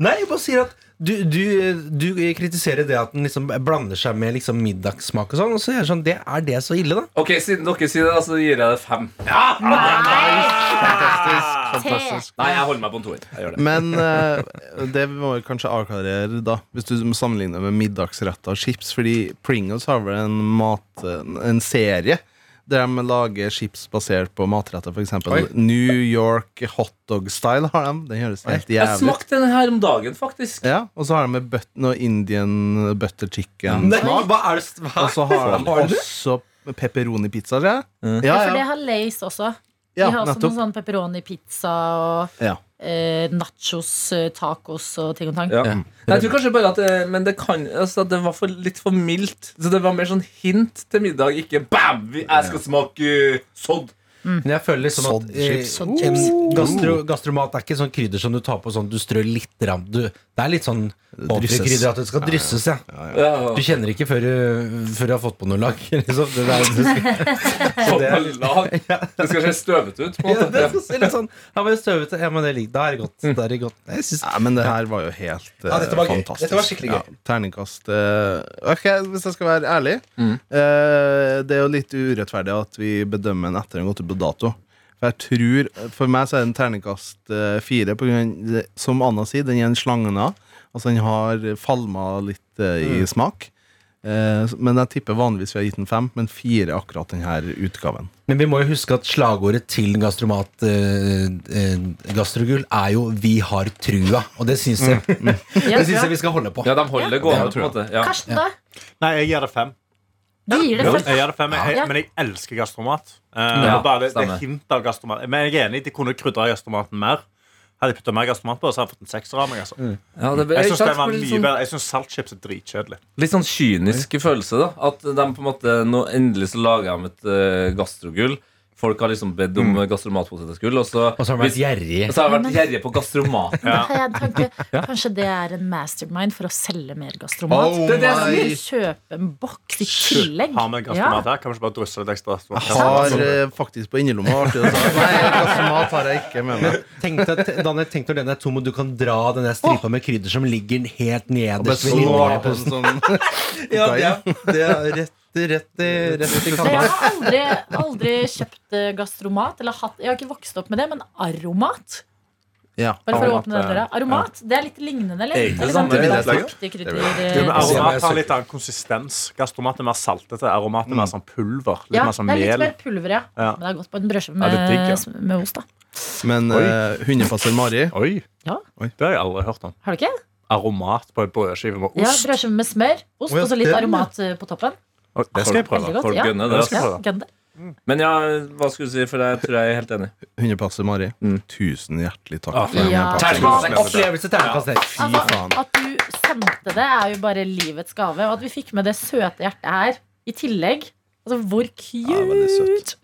[SPEAKER 4] Nei, jeg bare sier at du, du, du kritiserer det at den liksom blander seg med liksom middagssmak og sånn. Og så er det sånn, det er det så ille, da?
[SPEAKER 3] Ok, siden dere sier det, så gir jeg det fem. Ah,
[SPEAKER 6] Fantastisk.
[SPEAKER 3] Nei, jeg holder meg på en toer. Jeg gjør det.
[SPEAKER 6] Men eh, det må vi kanskje avklarere, da, hvis du sammenligner med middagsretter og chips. Fordi Pringles har vel en, mat, en serie der de lager chips basert på matretter. For
[SPEAKER 4] Oi.
[SPEAKER 6] eksempel New York hotdog-style har de. Den høres helt
[SPEAKER 3] Jeg
[SPEAKER 6] jævlig ut.
[SPEAKER 3] smakte den her om dagen, faktisk.
[SPEAKER 6] Ja, og så har de med button og Indian butter chicken.
[SPEAKER 4] hva er det
[SPEAKER 6] Og så har Mm. de
[SPEAKER 4] Har du det?
[SPEAKER 6] også pepperoni-pizza. tror jeg.
[SPEAKER 2] Ja,
[SPEAKER 6] Ja,
[SPEAKER 2] for det
[SPEAKER 6] ja.
[SPEAKER 2] har Lace også. De
[SPEAKER 6] ja,
[SPEAKER 2] har også noen
[SPEAKER 6] nettopp.
[SPEAKER 2] sånn pepperoni-pizza og
[SPEAKER 6] Ja.
[SPEAKER 2] eh, nachos, eh, tacos og ting og tang.
[SPEAKER 3] Ja. Nei, jeg tror kanskje bare at det, Men det kan altså, at Det var for, litt for mildt. Så det var mer sånn hint til middag, ikke bam! vi- Jeg skal smake eh, sodd.
[SPEAKER 4] Men jeg føler liksom at eh,
[SPEAKER 6] Soddchips.
[SPEAKER 4] chips- gastro, gastromat er ikke sånn krydder som du tar på sånn du strør litt rann. Du, det er litt sånn
[SPEAKER 6] drysses.
[SPEAKER 4] krydder at det skal drysses, ja.
[SPEAKER 3] Ja.
[SPEAKER 4] Du kjenner ikke før du, før du har fått på noe lag. Liksom. Det, der, det,
[SPEAKER 3] Sånn på lag. Det skal se støvete ut. på en
[SPEAKER 4] ja, det
[SPEAKER 3] måte
[SPEAKER 4] skal se litt sånn Ja, men støvete. Ja, men det ligger Da er det godt. Da er det godt. Jeg synes,
[SPEAKER 6] Nei, men det her var jo helt eh,
[SPEAKER 4] Ja, dette var gøy.
[SPEAKER 6] fantastisk.
[SPEAKER 4] Dette var skikkelig gøy.
[SPEAKER 6] Ja, terningkast. eh, ok, Hvis jeg skal være ærlig
[SPEAKER 4] Mm.
[SPEAKER 6] eh, Det er jo litt urettferdig at vi bedømmer en etter den gått ut på dato. For jeg tror, for meg så er det en terningkast eh, fire. På grunn, det- som Anna sier, den er en slangna. Altså den har falma litt eh,
[SPEAKER 4] Mm.
[SPEAKER 6] i smak. Eh, men jeg tipper vanligvis vi har gitt den fem, men fire er akkurat denne utgaven.
[SPEAKER 4] Men vi må jo huske at slagordet til gastromat eh, eh, gastrogull er jo 'vi har trua'. Og det syns jeg, det synes jeg vi skal holde på.
[SPEAKER 3] Ja, de holder det gående, på en måte. Ja.
[SPEAKER 2] Karsten, da?
[SPEAKER 5] Nei, jeg gir det fem.
[SPEAKER 2] Du gir det først.
[SPEAKER 5] Jeg gir det fem. Jeg,
[SPEAKER 2] Ja.
[SPEAKER 5] men jeg elsker gastromat. Eh,
[SPEAKER 3] Ja,
[SPEAKER 5] og bare det, det
[SPEAKER 3] stemmer.
[SPEAKER 5] hint av gastromat. Men jeg er enig, de kunne krydra gastromaten mer. Hadde jeg putta mer gastromat på, så hadde jeg fått en sekser av meg. Altså.
[SPEAKER 3] Ja, det,
[SPEAKER 5] Jeg syns
[SPEAKER 3] ikke sant,
[SPEAKER 5] det var
[SPEAKER 3] for litt
[SPEAKER 5] mye
[SPEAKER 3] sånn-
[SPEAKER 5] bedre. Jeg synes saltchips er dritkjedelig.
[SPEAKER 3] Litt sånn kynisk følelse, da. At de på en måte nå endelig så lager de et eh, gastrogull. Folk har liksom bedt om mm. gastromatpotetgull, og så,
[SPEAKER 4] Og så har vi vært
[SPEAKER 3] hvis-
[SPEAKER 4] gjerrige.
[SPEAKER 3] og så har de vært gjerrige på gastromat.
[SPEAKER 2] Da har jeg en tanke. Kanskje det er en mastermind for å selge mer gastromat?
[SPEAKER 6] Oh
[SPEAKER 2] det er det jeg
[SPEAKER 6] my.
[SPEAKER 2] sier. Kjøpe en boks i tillegg.
[SPEAKER 5] Har vi gastromat her? Kan vi ikke bare drysse litt ekstra?
[SPEAKER 6] Jeg har eh, faktisk på innerlomma. artig å si. Nei, gastromat har jeg ikke med meg.
[SPEAKER 4] Tenk deg, at- Daniel, tenk når den er tom, og du kan dra den der stripa med krydder som ligger helt nederst ved
[SPEAKER 6] Slå på
[SPEAKER 4] innholdet.
[SPEAKER 6] en sånn
[SPEAKER 4] Ja, det er, det er rett, rett, rett i
[SPEAKER 2] Men
[SPEAKER 4] kanten.
[SPEAKER 2] jeg har aldri, aldri kjøpt eh, gastromat. Eller hatt, jeg har ikke vokst opp med det, men aromat.
[SPEAKER 6] Ja.
[SPEAKER 2] Bare for å
[SPEAKER 5] Aromat,
[SPEAKER 2] åpne den døra. Aromat, det er litt lignende, eller?
[SPEAKER 5] Egentlig
[SPEAKER 2] Eller sånn
[SPEAKER 3] samme,
[SPEAKER 2] eh,
[SPEAKER 6] det vil jeg si.
[SPEAKER 2] krydderaktig
[SPEAKER 5] Ja, men
[SPEAKER 2] krydder...
[SPEAKER 5] aromat har litt annen konsistens. Gastromat er mer saltete. Aromat er mer sånn pulver. Litt
[SPEAKER 2] Ja,
[SPEAKER 5] mer sånn
[SPEAKER 2] det er litt
[SPEAKER 5] mel.
[SPEAKER 2] mer pulver, ja.
[SPEAKER 5] Ja.
[SPEAKER 2] Men det er godt på en brødskive
[SPEAKER 5] Ja,
[SPEAKER 2] med,
[SPEAKER 5] det er digg, ja.
[SPEAKER 2] s- med ost, da.
[SPEAKER 6] Men eh, hundepasser Mari
[SPEAKER 5] Oi,
[SPEAKER 2] Ja,
[SPEAKER 5] det har jeg aldri hørt om.
[SPEAKER 2] har du ikke?
[SPEAKER 5] Aromat på en brødskive med
[SPEAKER 2] Ja,
[SPEAKER 5] ost.
[SPEAKER 2] Brødskive med smør, ost
[SPEAKER 4] Å, ja,
[SPEAKER 2] og så litt
[SPEAKER 4] den, ja.
[SPEAKER 2] aromat eh, på toppen.
[SPEAKER 5] Oi, Det skal jeg prøve.
[SPEAKER 2] Veldig godt.
[SPEAKER 3] Folk
[SPEAKER 2] ja.
[SPEAKER 3] gønner det.
[SPEAKER 5] Det
[SPEAKER 3] altså.
[SPEAKER 5] skal jeg
[SPEAKER 2] Ja,
[SPEAKER 5] prøve.
[SPEAKER 2] gønn det.
[SPEAKER 3] Men ja, hva skulle du si, for jeg tror jeg er helt enig.
[SPEAKER 6] Hundepasser Mari
[SPEAKER 3] Mm.
[SPEAKER 6] Tusen hjertelig takk
[SPEAKER 5] Ah,
[SPEAKER 6] for den
[SPEAKER 2] ja.
[SPEAKER 6] passen.
[SPEAKER 4] Opplevelse terningkast seks.
[SPEAKER 2] Altså,
[SPEAKER 6] faen.
[SPEAKER 2] at du sendte det, er jo bare livets gave. Og at vi fikk med det søte hjertet her i tillegg. Altså, hvor
[SPEAKER 6] Ja, veldig søtt.
[SPEAKER 2] cute!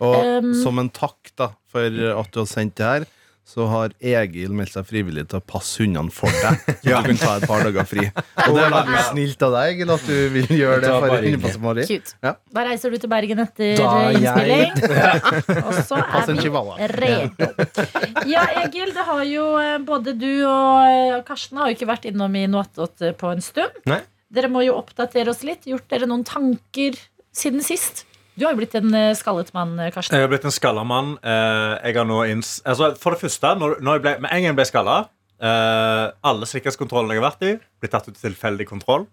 [SPEAKER 6] Og
[SPEAKER 2] Um,
[SPEAKER 6] som en takk da for at du har sendt det her, så har Egil meldt seg frivillig til å passe hundene for deg. Så du kan ta et par dager fri. Og det er veldig snilt av deg, Egil, at du vil gjøre det
[SPEAKER 4] Det var
[SPEAKER 6] for
[SPEAKER 4] bare hyggelig.
[SPEAKER 6] hundepasser Mari.
[SPEAKER 2] Cute.
[SPEAKER 6] Ja.
[SPEAKER 2] Da reiser du til Bergen etter
[SPEAKER 4] Da jeg-
[SPEAKER 2] innspilling. Og så
[SPEAKER 6] Pass
[SPEAKER 2] er
[SPEAKER 6] en
[SPEAKER 2] vi
[SPEAKER 6] chihuahua.
[SPEAKER 2] redo. Ja, Egil, det har jo eh, både du og eh, Karsten har jo ikke vært innom i Noatot eh, på en stund.
[SPEAKER 4] Nei.
[SPEAKER 2] Dere må jo oppdatere oss litt. Gjort dere noen tanker siden sist? Du har jo blitt en eh, skallet mann, eh, Karsten.
[SPEAKER 5] Jeg har blitt en skalla mann. Eh, jeg har nå inns altså, for det første, når, når jeg ble, med en gang jeg ble skalla eh, Alle sikkerhetskontrollene jeg har vært i, blir tatt ut til tilfeldig kontroll.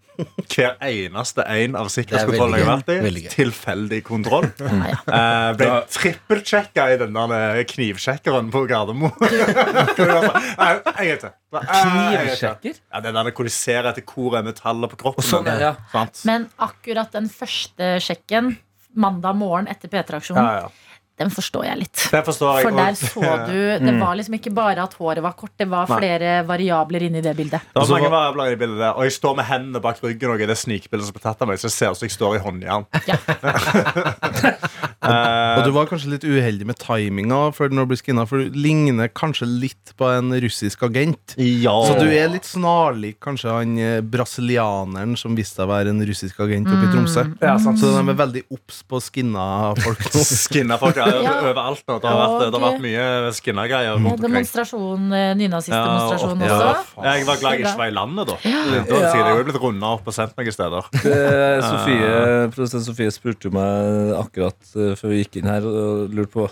[SPEAKER 5] Hver eneste en av sikkerhetskontrollene jeg har
[SPEAKER 4] veldig gøy.
[SPEAKER 5] vært i,
[SPEAKER 4] Veldig gøy.
[SPEAKER 5] tilfeldig kontroll. Eh, ble trippeltsjekka i den der eh, knivsjekkeren på Gardermoen. Nei, en gang til. Knivsjekker? Ja, den der hvor de ser etter hvor er metallet på kroppen.
[SPEAKER 3] ja.
[SPEAKER 5] Sant?
[SPEAKER 2] Men akkurat den første sjekken mandag morgen etter
[SPEAKER 5] Ja,
[SPEAKER 2] P3-aksjonen,
[SPEAKER 5] ja.
[SPEAKER 2] den forstår jeg litt.
[SPEAKER 5] Det forstår jeg.
[SPEAKER 2] For der
[SPEAKER 5] Og
[SPEAKER 2] så du
[SPEAKER 3] Mm.
[SPEAKER 2] Det var liksom ikke bare at håret var kort, det var
[SPEAKER 5] Nei.
[SPEAKER 2] flere variabler inni det bildet.
[SPEAKER 5] Det
[SPEAKER 6] Og så
[SPEAKER 5] var mange
[SPEAKER 6] var-
[SPEAKER 5] variabler i det bildet der Og jeg står med hendene bak ryggen og i det snikbildet som ble tatt av meg, så det ser ut som jeg står i håndjern.
[SPEAKER 2] Ja.
[SPEAKER 5] Eh,
[SPEAKER 6] Og du var kanskje litt uheldig med timinga før når du ble skinna, for du ligner kanskje litt på en russisk agent.
[SPEAKER 5] ja.
[SPEAKER 6] Så du er litt snarlig kanskje han eh, brasilianeren som viste seg å være en russisk agent oppe i Tromsø.
[SPEAKER 5] Mm. Ja, sant.
[SPEAKER 6] Så de er veldig obs på skinna folk nå.
[SPEAKER 5] Skinna folk er
[SPEAKER 2] Ja.
[SPEAKER 5] overalt nå. Det har vært, det har vært
[SPEAKER 2] Og-
[SPEAKER 5] mye skinna greier.
[SPEAKER 2] Ja, Eh, Demonstrasjon, eh, nynazistdemonstrasjon
[SPEAKER 5] Ja,
[SPEAKER 2] også.
[SPEAKER 5] Jeg var glad jeg ikke var i landet, da. Da hadde jeg jo blitt runda opp og sendt noen steder. Ah.
[SPEAKER 3] Eh, Sofie, Produsent Sofie spurte jo meg akkurat eh, før vi gikk inn her og lurte på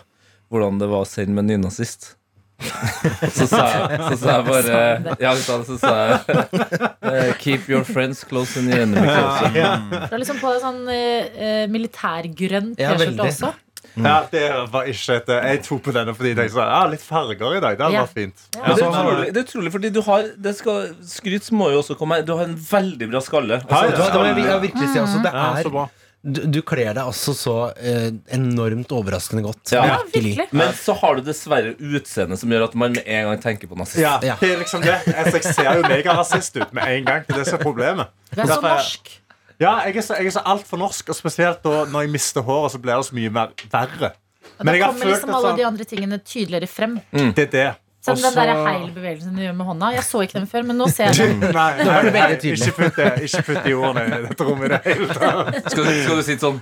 [SPEAKER 3] hvordan det var å sende med en nynazist. så, sa jeg, så sa jeg bare Ja, hun sa det, så sa jeg eh, Keep your friends close and your enemy close.
[SPEAKER 2] Du har liksom på deg sånn eh, eh, militærgrønn
[SPEAKER 4] Ja,
[SPEAKER 2] T-skjorte
[SPEAKER 4] veldig.
[SPEAKER 2] også.
[SPEAKER 5] Ja, det var ikke et eh, Jeg tok på denne fordi jeg tenkte sånn, ja, litt farger i dag. Det hadde
[SPEAKER 2] Ja.
[SPEAKER 5] vært fint.
[SPEAKER 2] Ja.
[SPEAKER 3] Men det,
[SPEAKER 5] så
[SPEAKER 3] er
[SPEAKER 5] har
[SPEAKER 3] utrolig, det er utrolig, fordi du har det skal, Skryt må jo også komme her. Du har en veldig bra skalle.
[SPEAKER 5] Hei,
[SPEAKER 4] Vet du hva, det må jeg, jeg virkelig si altså, det
[SPEAKER 5] Ja, så
[SPEAKER 4] er,
[SPEAKER 5] bra.
[SPEAKER 4] du, du kler deg altså så eh, enormt overraskende godt.
[SPEAKER 3] Ja,
[SPEAKER 2] virkelig.
[SPEAKER 3] Men så har du dessverre utseendet som gjør at man med en gang tenker på nazist.
[SPEAKER 5] Ja,
[SPEAKER 4] Ja.
[SPEAKER 5] det er liksom det. Jeg jeg ser jo megarasist ut med en gang. Det er det som er problemet.
[SPEAKER 2] Du er så
[SPEAKER 5] Derfor er-
[SPEAKER 2] norsk.
[SPEAKER 5] Ja, jeg er så, jeg er så altfor norsk, og spesielt da, når jeg mister håret, så blir det så mye mer verre.
[SPEAKER 2] Og da
[SPEAKER 5] jeg har
[SPEAKER 2] kommer
[SPEAKER 5] følt
[SPEAKER 2] liksom alle
[SPEAKER 5] det
[SPEAKER 2] de andre tingene tydeligere frem.
[SPEAKER 5] sånn, det er det.
[SPEAKER 2] Som
[SPEAKER 5] Og
[SPEAKER 2] den
[SPEAKER 5] så-
[SPEAKER 2] der heil-bevegelsen du gjør med hånda. Jeg så ikke den før, men nå ser jeg den.
[SPEAKER 5] Nei, nei,
[SPEAKER 4] det veldig
[SPEAKER 5] nei,
[SPEAKER 4] tydelig.
[SPEAKER 5] ikke putt det Ikke putt de ordene i dette rommet i det hele tatt.
[SPEAKER 3] Skal, du- skal du sitte sånn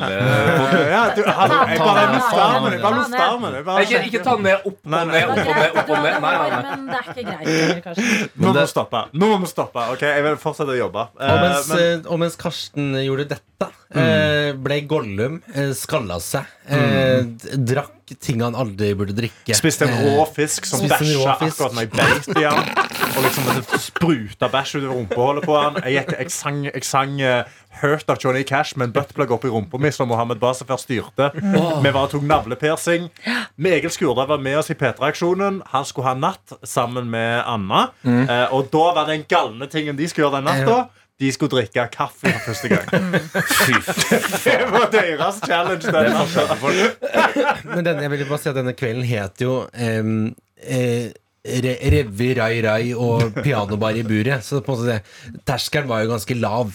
[SPEAKER 3] hele
[SPEAKER 5] Ja, du, hallo, jeg bare
[SPEAKER 2] Ta ned, ta ned,
[SPEAKER 5] lufter armen. Jeg bare
[SPEAKER 2] ta
[SPEAKER 5] lufter
[SPEAKER 2] ned.
[SPEAKER 5] armen. jeg bare-
[SPEAKER 3] Ikke, ikke ta den ned, opp og
[SPEAKER 5] Nei, nei.
[SPEAKER 3] ned, opp og ned. opp og ned Nei, nei, nei
[SPEAKER 2] Men det er ikke greit lenger, kanskje.
[SPEAKER 5] Nå må vi stoppe. Nå må vi stoppe. Ok, Jeg vil fortsette å jobbe.
[SPEAKER 4] Og mens,
[SPEAKER 5] Eh, men-
[SPEAKER 4] eh, og mens Karsten gjorde dette, eh, ble Gollum, eh, skalla seg, eh, d- drakk ting han aldri burde drikke. Eh,
[SPEAKER 5] Spiste en rå fisk som
[SPEAKER 4] spiste en
[SPEAKER 5] bæsja
[SPEAKER 4] rå fisk.
[SPEAKER 5] akkurat når jeg beit i han. Og liksom det spruta bæsj ut av rumpehullet på han. Jeg, gikk, jeg sang, jeg sang eh, Hurt av Johnny Cash med en buttplug oppi rumpa mi, som Mohammed Base før styrte. Vi var og tok navlepiercing. Med Egil Skurdal var med oss i P3-aksjonen. Han skulle ha natt sammen med Anna. Eh, og da var den galne tingen de skulle gjøre den natta. De skulle drikke kaffe for første gang. Mm. Det var deres challenge. Den natta.
[SPEAKER 4] Men denne, jeg vil bare si at denne kvelden het jo em, eh, Re Revy, Rai Rai og pianobar i buret. Så på en måte det, terskelen var jo ganske lav.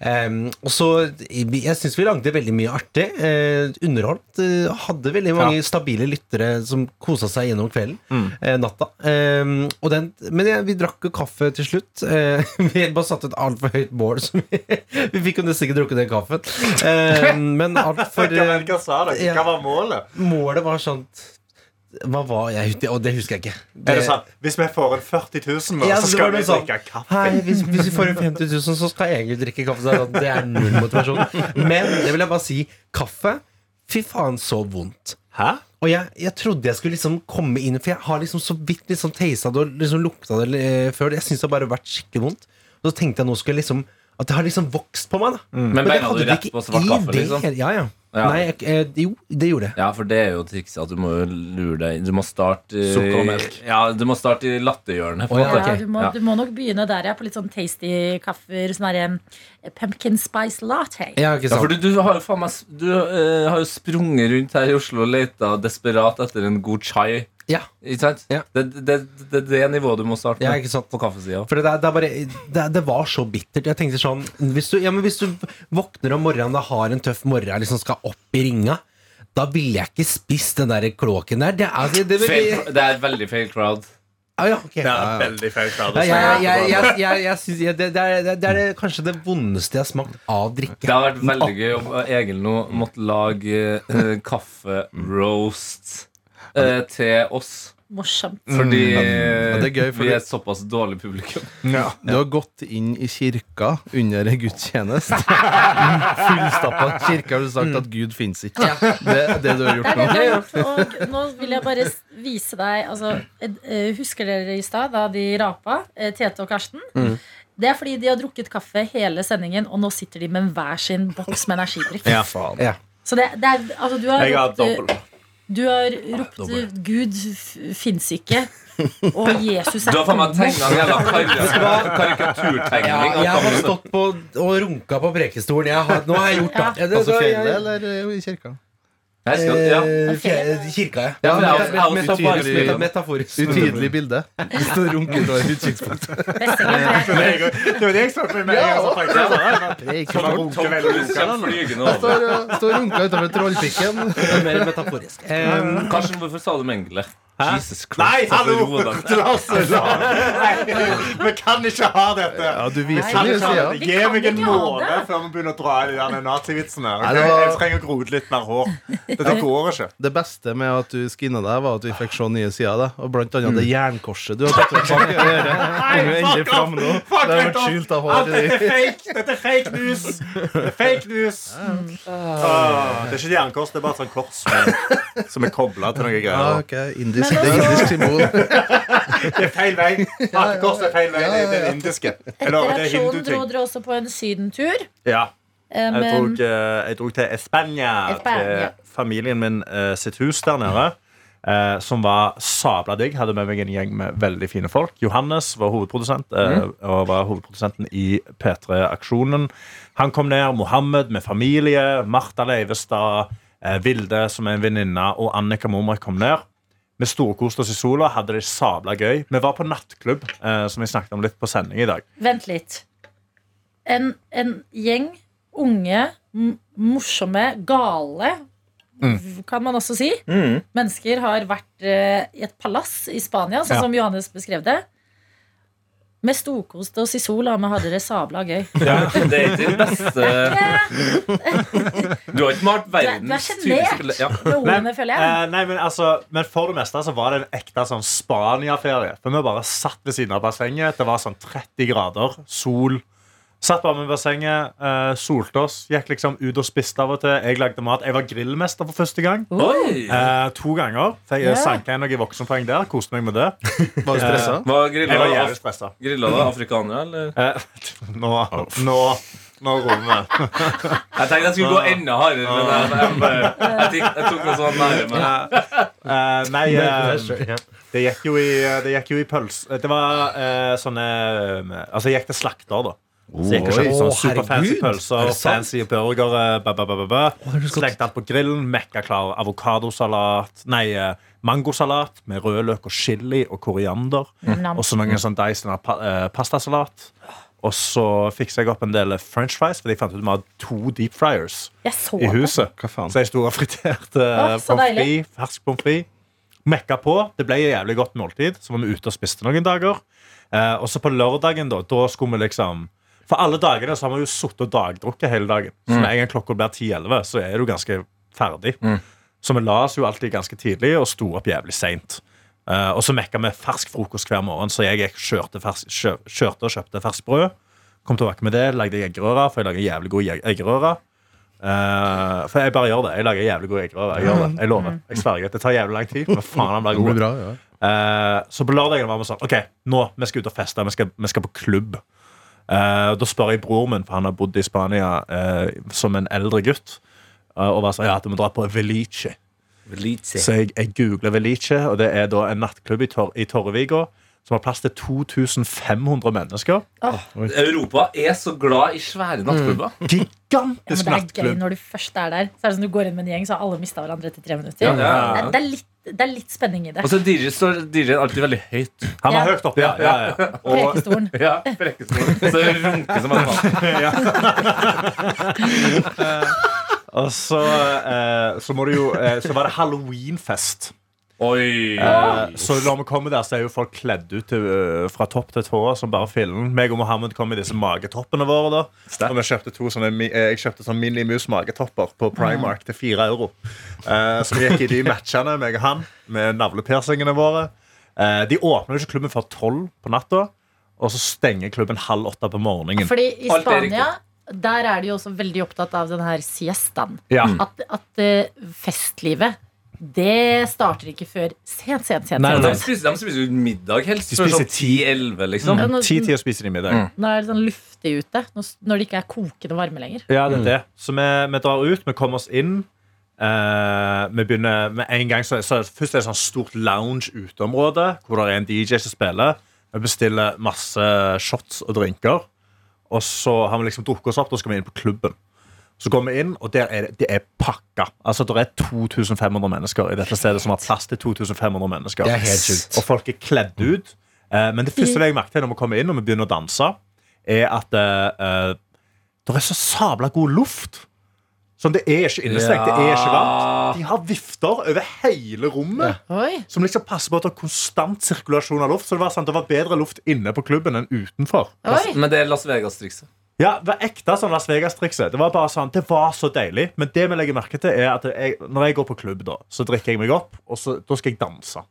[SPEAKER 4] Em, og så Jeg syns vi lagde veldig mye artig. Eh, underholdt. Eh, hadde veldig mange stabile lyttere som kosa seg gjennom kvelden. Eh, natta. Em, og den, men jeg, vi drakk jo kaffe til slutt. Eh, vi bare satte et altfor høyt bål. Så vi, vi fikk jo nesten ikke drukket den kaffen. Eh, men altfor
[SPEAKER 5] Hva var det han sa da? Hva var målet?
[SPEAKER 4] Målet var sånn Hva var jeg ute i? Og det husker jeg ikke.
[SPEAKER 5] Er det sant? Hvis vi får en 40 000 nå,
[SPEAKER 4] Ja,
[SPEAKER 5] så
[SPEAKER 4] så
[SPEAKER 5] skal
[SPEAKER 4] var det
[SPEAKER 5] vi
[SPEAKER 4] sånn.
[SPEAKER 5] drikke kaffe.
[SPEAKER 4] Hei, hvis, hvis vi får en 50 000, så skal jeg egentlig drikke kaffe. Så er det sånn, det er null motivasjon. Men det vil jeg bare si. Kaffe Fy faen, så vondt.
[SPEAKER 5] Hæ?
[SPEAKER 4] Og jeg, jeg trodde jeg skulle liksom komme inn, for jeg har liksom så vidt liksom tasta det og liksom lukta det eh, før. Jeg syns det har bare vært skikkelig vondt. Og så tenkte jeg nå skulle jeg liksom at det har liksom vokst på meg. da
[SPEAKER 3] Men
[SPEAKER 4] det
[SPEAKER 3] beina du
[SPEAKER 4] hadde
[SPEAKER 3] Mm. rett
[SPEAKER 4] det
[SPEAKER 3] på
[SPEAKER 4] ikke
[SPEAKER 3] svart
[SPEAKER 4] i
[SPEAKER 3] kaffe,
[SPEAKER 4] det
[SPEAKER 3] liksom?
[SPEAKER 4] hele- Ja, ja.
[SPEAKER 3] Ja.
[SPEAKER 4] Nei, jeg, eh, jo, det gjorde jeg.
[SPEAKER 3] Ja, for det er jo trikset at du må jo lure deg Du må starte i-
[SPEAKER 5] Sukker og melk.
[SPEAKER 3] Ja, du må starte i latterhjørnet. på
[SPEAKER 4] Å,
[SPEAKER 3] en
[SPEAKER 4] ja,
[SPEAKER 3] måte.
[SPEAKER 2] Ja,
[SPEAKER 4] ok.
[SPEAKER 2] du, må,
[SPEAKER 3] Ja.
[SPEAKER 2] du må nok begynne der, ja. På litt sånn tasty kaffer. Sånn derre pumpkin spice latte.
[SPEAKER 4] Ja, ikke
[SPEAKER 3] Ja, for
[SPEAKER 4] sant?
[SPEAKER 3] du, du, har, jo faen meg, s- du eh, har jo sprunget rundt her i Oslo og leta desperat etter en god chai.
[SPEAKER 4] Ja.
[SPEAKER 3] Ikke sant?
[SPEAKER 4] Ja.
[SPEAKER 3] Det, det, det, det er det nivået du må starte
[SPEAKER 4] Ja,
[SPEAKER 3] med
[SPEAKER 4] ikke sant?
[SPEAKER 3] på kaffesida.
[SPEAKER 4] For det, er- det, er bare, det, det var så bittert. Jeg tenkte sånn Hvis du, ja, men hvis du våkner om morgenen og har en tøff morgen liksom skal opp i ringa, da ville jeg ikke spist den der kloakken der. Det er, altså, det, det,
[SPEAKER 3] Feil- Det er veldig feil crowd.
[SPEAKER 4] Ah, ja, ok.
[SPEAKER 5] Det er veldig feil klar.
[SPEAKER 4] Ja, jeg, jeg, jeg, jeg, jeg synes, jeg, det, det, er, det, er, det er kanskje det vondeste jeg har smakt av drikke.
[SPEAKER 3] Det har vært veldig gøy om Egil nå måtte lage eh, kaffe-roast eh, til oss.
[SPEAKER 2] Morsomt.
[SPEAKER 3] Fordi
[SPEAKER 6] Ja, det er gøy, fordi-
[SPEAKER 3] vi er et såpass dårlig publikum.
[SPEAKER 6] Du har gått inn i kirka under en gudstjeneste. Fullstappa kirka har du sagt at Gud fins ikke. Det er det du har
[SPEAKER 2] Det
[SPEAKER 6] gjort
[SPEAKER 2] er det
[SPEAKER 6] nå.
[SPEAKER 2] du har gjort. Og nå vil jeg bare s- vise deg altså, ed- eh, Husker dere i stad, da de rapa, eh, Tete og Karsten?
[SPEAKER 5] Mm.
[SPEAKER 2] Det er fordi de har drukket kaffe hele sendingen, og nå sitter de med hver sin boks med energidrikk.
[SPEAKER 5] Ja.
[SPEAKER 2] Så det, det er, altså, du har
[SPEAKER 5] Jeg har
[SPEAKER 2] ropt,
[SPEAKER 5] dobbel.
[SPEAKER 2] eh, du har ropt eh, 'Gud f- fins ikke', og 'Jesus
[SPEAKER 3] Du
[SPEAKER 2] er
[SPEAKER 3] har faen meg tegna en jævla kar- karikaturtegning.
[SPEAKER 4] Jeg
[SPEAKER 3] av
[SPEAKER 4] har
[SPEAKER 3] kaffe.
[SPEAKER 4] stått på og runka på prekestolen. Jeg har, nå har jeg gjort det. Ja, det,
[SPEAKER 6] Altså
[SPEAKER 4] det-
[SPEAKER 6] fjellet
[SPEAKER 4] jeg-
[SPEAKER 6] eller i kirka?
[SPEAKER 3] Jeg skal, ja.
[SPEAKER 4] Eh, fjerde- kirka, ja.
[SPEAKER 3] Ja, for jeg har- jeg har
[SPEAKER 4] Meta-
[SPEAKER 6] utydelig-
[SPEAKER 4] meta- metaforisk.
[SPEAKER 6] Utydelig bilde. Det står runketår i utkikspunktet.
[SPEAKER 5] Det var det jeg så på med en gang. så tenkte jeg sånn, ja, men-
[SPEAKER 6] Det
[SPEAKER 5] Kan man runke vel og runke,
[SPEAKER 3] Skal
[SPEAKER 5] da?
[SPEAKER 3] flygende over.
[SPEAKER 6] står, eh, står runka utenfor trollpikken.
[SPEAKER 4] Det er mer metaforisk. Eh,
[SPEAKER 3] Karsten, hvorfor sa du mengle? Jesus Christ.
[SPEAKER 5] Nei,
[SPEAKER 3] altså,
[SPEAKER 5] hallo!
[SPEAKER 3] ro deg.
[SPEAKER 5] Lasse, la- Nei, Vi kan ikke ha dette.
[SPEAKER 6] Ja, du viser
[SPEAKER 5] Kan
[SPEAKER 6] mye
[SPEAKER 5] ikke ha
[SPEAKER 6] sider.
[SPEAKER 5] dette.
[SPEAKER 2] Vi
[SPEAKER 5] Gi
[SPEAKER 2] kan
[SPEAKER 5] meg en
[SPEAKER 2] ikke ha
[SPEAKER 5] måned
[SPEAKER 2] det.
[SPEAKER 5] før vi begynner å dra i de der nazivitsene.
[SPEAKER 6] Nei,
[SPEAKER 5] ok?
[SPEAKER 6] det var-
[SPEAKER 5] Jeg trenger å gro ut litt mer hår. Dette går ikke.
[SPEAKER 6] Det beste med at du skinna deg, var at vi fikk se nye sider av deg. Og blant annet det jernkorset du har tatt bak i øret. Kom jo endelig fram nå.
[SPEAKER 5] Fuck
[SPEAKER 6] Det har
[SPEAKER 5] it
[SPEAKER 6] vært
[SPEAKER 5] off.
[SPEAKER 6] skjult av
[SPEAKER 5] Alt
[SPEAKER 6] håret
[SPEAKER 5] dette
[SPEAKER 6] ditt.
[SPEAKER 5] er fake! Dette er fake news! Det er fake news! Åh, Ah, det er ikke et jernkors, det er bare et sånt kors som- som er kobla til noe
[SPEAKER 6] Ja,
[SPEAKER 5] greier.
[SPEAKER 6] ok, indisk,
[SPEAKER 2] Men
[SPEAKER 6] det er
[SPEAKER 2] altså-
[SPEAKER 6] indisk symbol.
[SPEAKER 5] Ah, Det er feil vei. Hakekorset er feil vei. Det er den indiske. Eller
[SPEAKER 2] Etter
[SPEAKER 5] det er
[SPEAKER 2] aksjonen sånn, dro
[SPEAKER 5] hinduting.
[SPEAKER 2] dere også på en sydentur.
[SPEAKER 5] Ja.
[SPEAKER 2] eh,
[SPEAKER 5] Jeg
[SPEAKER 2] men-
[SPEAKER 5] drog, eh, jeg drog til Espania,
[SPEAKER 2] Espania.
[SPEAKER 5] til familien min eh, sitt hus der nede. eh, som var sabla digg. Hadde med meg en gjeng med veldig fine folk. Johannes var hovedprodusent eh, og var hovedprodusenten i P3-aksjonen. Han kom ned. Mohammed med familie. Martha Leivestad. eh, Vilde, som er en venninne, og Annika Momrek kom ned. Vi storkoste oss i sola, hadde det sabla gøy. Vi var på nattklubb, eh, som vi snakket om litt på sending i dag.
[SPEAKER 2] Vent litt. En, en gjeng unge, m- morsomme, gale
[SPEAKER 5] Mm.
[SPEAKER 2] v- kan man også si. Mennesker har vært eh, i et palass i Spania, sånn
[SPEAKER 5] Ja.
[SPEAKER 2] som Johannes beskrev det. Vi storkoste oss i sola, vi hadde det sabla gøy.
[SPEAKER 3] Det er ikke det beste Du har ikke malt verdens
[SPEAKER 2] sjenert.
[SPEAKER 3] tydeligste ja.
[SPEAKER 2] Med ordene, føler jeg.
[SPEAKER 5] Eh, nei, men, altså, men for det meste så var det en ekte sånn Spania-ferie. For vi bare satt ved siden av bassenget. Det var sånn 30 grader, sol. Satt bare med bassenget, eh, solte oss, gikk liksom ut og spiste av og til. Jeg lagde mat. Jeg var grillmester for første gang.
[SPEAKER 3] Oi!
[SPEAKER 5] Eh, to ganger. Fikk
[SPEAKER 2] Ja.
[SPEAKER 5] jeg sanka inn noen voksenpoeng der. Koste meg med det.
[SPEAKER 6] Var du stressa?
[SPEAKER 3] Hva
[SPEAKER 5] Jeg var
[SPEAKER 3] grilla
[SPEAKER 5] jævlig stressa.
[SPEAKER 3] du afrikanere, eller?
[SPEAKER 5] Eh, nå nå, nå roer vi.
[SPEAKER 3] Jeg tenkte jeg skulle gå enda hardere, men jeg, jeg, bare- jeg, tikk- jeg tok meg sånn nære meg.
[SPEAKER 5] Eh, nei, eh, det gikk jo i, det gikk jo i pøls... Det var eh, sånne eh, Altså, jeg gikk til slakter, da. Så jeg gikk og kjøpte sånn
[SPEAKER 4] Oi.
[SPEAKER 5] superfancy
[SPEAKER 4] Herregud. Er
[SPEAKER 5] pølser,
[SPEAKER 4] det sant?
[SPEAKER 5] fancy burgere, ba, ba, ba, ba, ba. Slengte alt på grillen, mekka klar avokadosalat Nei, eh, mangosalat med rødløk og chili og koriander.
[SPEAKER 2] nam.
[SPEAKER 5] Og så noen sånn Dyson pa, eh, pastasalat. Og så fiksa jeg opp en del french fries, fordi jeg fant ut vi hadde to deep fryers
[SPEAKER 2] Jeg så
[SPEAKER 5] i
[SPEAKER 2] det.
[SPEAKER 5] huset.
[SPEAKER 6] Hva faen?
[SPEAKER 5] Så jeg sto og friterte
[SPEAKER 2] Å, så
[SPEAKER 5] pommes
[SPEAKER 2] deilig.
[SPEAKER 5] frites. Fersk pommes frites. Mekka på. Det ble et jævlig godt måltid. Så var vi ute og spiste noen dager. Eh, og så på lørdagen, da, da skulle vi liksom For alle dagene så har vi jo sittet og dagdrukket hele dagen. Så med en gang klokka blir 10-11, så er du ganske ferdig. Så vi la oss jo alltid ganske tidlig og sto opp jævlig seint. Eh, og så mekka vi fersk frokost hver morgen, så jeg gikk- kjørte, fersk, kjø, kjørte og kjøpte ferskt brød. Kom tilbake med det, lagde eggerøre, for jeg lager jævlig god jeg- eggerøre. Eh, for jeg bare gjør det. Jeg lager jævlig god eggerøre. Jeg gjør det, jeg lover. Jeg sverger. Det tar jævlig lang tid, men faen, han blir
[SPEAKER 6] Det
[SPEAKER 5] god.
[SPEAKER 6] blir bra, ja.
[SPEAKER 5] Eh, så på lørdagen var vi sånn Ok, nå, vi skal ut og feste, vi skal, vi skal på klubb. Eh, da spør jeg broren min, for han har bodd i Spania eh, som en eldre gutt. eh, og var sånn, ja, at vi drar på Velice. Så jeg, jeg googler Velice, og det er da en nattklubb i, Tor i Torreviga som har plass til 2500 mennesker.
[SPEAKER 3] Europa er så glad i svære nattklubber.
[SPEAKER 2] Ja,
[SPEAKER 5] Gigantisk
[SPEAKER 2] men det er gøy
[SPEAKER 5] nattklubb.
[SPEAKER 2] når du først er der. Så er det som du går inn med en gjeng, så har alle mista hverandre etter tre minutter.
[SPEAKER 3] Ja, ja, ja.
[SPEAKER 2] Det, det, er litt, det er litt spenning i det.
[SPEAKER 3] Og så DJ Altså, står DJ er alltid veldig høyt.
[SPEAKER 5] Han var
[SPEAKER 2] Ja.
[SPEAKER 5] høyt oppe, ja. ja, ja. Og
[SPEAKER 2] Prekestolen.
[SPEAKER 3] Ja, Brekkestol. Så runker som en mann.
[SPEAKER 5] og så, eh, så, må du jo, eh, så var det halloweenfest.
[SPEAKER 3] Oi!
[SPEAKER 5] Eh, Så når vi kommer der, så er jo folk kledd ut til, øh, fra topp til tå som bare fillen. Meg og Mohammed kom i disse magetoppene våre. da Og vi kjøpte to sånne, mi- eh, Jeg kjøpte sånn Minimus-magetopper på Primark til fire euro. Eh, som gikk i de matchene, meg og han, med navlepiersingene våre. Eh, de åpner jo ikke klubben før tolv på natta, og så stenger klubben halv åtte på morgenen.
[SPEAKER 2] Fordi i
[SPEAKER 3] Alt er
[SPEAKER 2] Spania der er de jo også veldig opptatt av den her siestaen.
[SPEAKER 5] Ja.
[SPEAKER 2] At, at eh, festlivet, det starter ikke før sent, sent, sent.
[SPEAKER 5] Nei,
[SPEAKER 2] sent.
[SPEAKER 3] De spiser, de spiser jo middag helst.
[SPEAKER 5] De spiser
[SPEAKER 3] sånn 10-11, liksom.
[SPEAKER 2] Ja, nå,
[SPEAKER 5] Ti-tida spiser de middag.
[SPEAKER 2] nå er det sånn luftig ute, nå s- når det ikke er kokende varme lenger.
[SPEAKER 5] Ja, det er det. Så vi, vi drar ut, vi kommer oss inn. eh, vi begynner med en gang så, så Først er det et sånt stort lounge uteområde hvor det er en DJ som spiller. Vi bestiller masse shots og drinker. Og så har vi liksom drukket oss opp, da skal vi inn på klubben. Så går vi inn, og der er det, det er pakka. Altså, Det er 2500 mennesker i dette stedet som har plass til 2500 mennesker.
[SPEAKER 4] Det er helt sjukt.
[SPEAKER 5] Og folk er kledd ut. Eh, men det første jeg merket når vi kommer inn og vi begynner å danse, er at eh, eh, det er så sabla god luft. Sånn, Det er ikke innestengt. Det er ikke varmt. De har vifter over hele rommet.
[SPEAKER 2] Oi.
[SPEAKER 5] Som liksom passer på at det er konstant sirkulasjon av luft. Så det var, sant, det var bedre luft inne på klubben enn utenfor.
[SPEAKER 2] Oi.
[SPEAKER 3] Men det er Las Vegas-trikset.
[SPEAKER 5] Ja, Det var ekte sånn Las Vegas-trikset. Det var bare sånn, det var så deilig. Men det vi legger merke til er at jeg, når jeg går på klubb, da, så drikker jeg meg opp, og så, da skal jeg danse.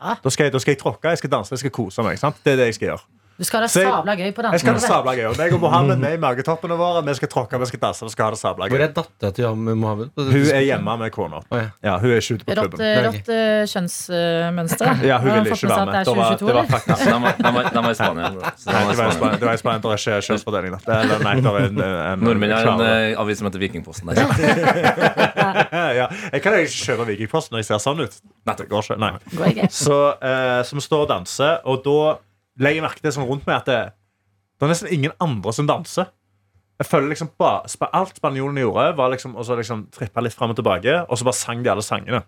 [SPEAKER 2] Ja.
[SPEAKER 5] Da, skal jeg, da skal jeg tråkke, jeg skal danse, jeg skal kose meg. sant? Det er det jeg skal gjøre.
[SPEAKER 2] Du skal ha
[SPEAKER 5] Så jeg-
[SPEAKER 2] sabla gøy på
[SPEAKER 5] Jeg skal ha det
[SPEAKER 2] dansen.
[SPEAKER 5] sabla gøy. Og meg og Mohammed vi er i magetoppene våre. Vi skal tråkke, vi skal danse. vi skal ha det sabla
[SPEAKER 4] Hvor
[SPEAKER 5] gøy.
[SPEAKER 4] er dattera til han, Mohammed?
[SPEAKER 5] Hun er hjemme med kona.
[SPEAKER 4] Å, ja.
[SPEAKER 5] Ja, Hun er ikke ute på
[SPEAKER 2] Rått,
[SPEAKER 5] klubben.
[SPEAKER 2] eh, rått eh, kjønnsmønster.
[SPEAKER 5] Ja, Hun
[SPEAKER 2] Nå har
[SPEAKER 5] ville
[SPEAKER 2] fått
[SPEAKER 5] ikke
[SPEAKER 2] med seg
[SPEAKER 5] være
[SPEAKER 2] at
[SPEAKER 5] med.
[SPEAKER 2] Det er 2022,
[SPEAKER 5] Da var, det var
[SPEAKER 2] eller?
[SPEAKER 5] faktisk
[SPEAKER 3] Så den var, den var, den var i Spania. Så den
[SPEAKER 5] Nei,
[SPEAKER 3] var i Spania.
[SPEAKER 5] det var i Span- det var i Spania. Det er ikke kjønnsfordeling. der. Det er, nei, det er en, en,
[SPEAKER 3] Nordmenn har en
[SPEAKER 5] klare-
[SPEAKER 3] eh, avis som heter Vikingposten. Der.
[SPEAKER 5] ja. Jeg kan ikke kjøpe Vikingposten når jeg ser sånn ut. Det går ikke. Nei.
[SPEAKER 2] Går ikke.
[SPEAKER 5] Så, eh, som står og danser, og da legger jeg merke til sånn rundt meg at det, det er nesten ingen andre som danser. Jeg føler liksom ba, spa, Alt spanjolene gjorde, var liksom, og så liksom trippa litt fram og tilbake, og så bare sang de alle sangene.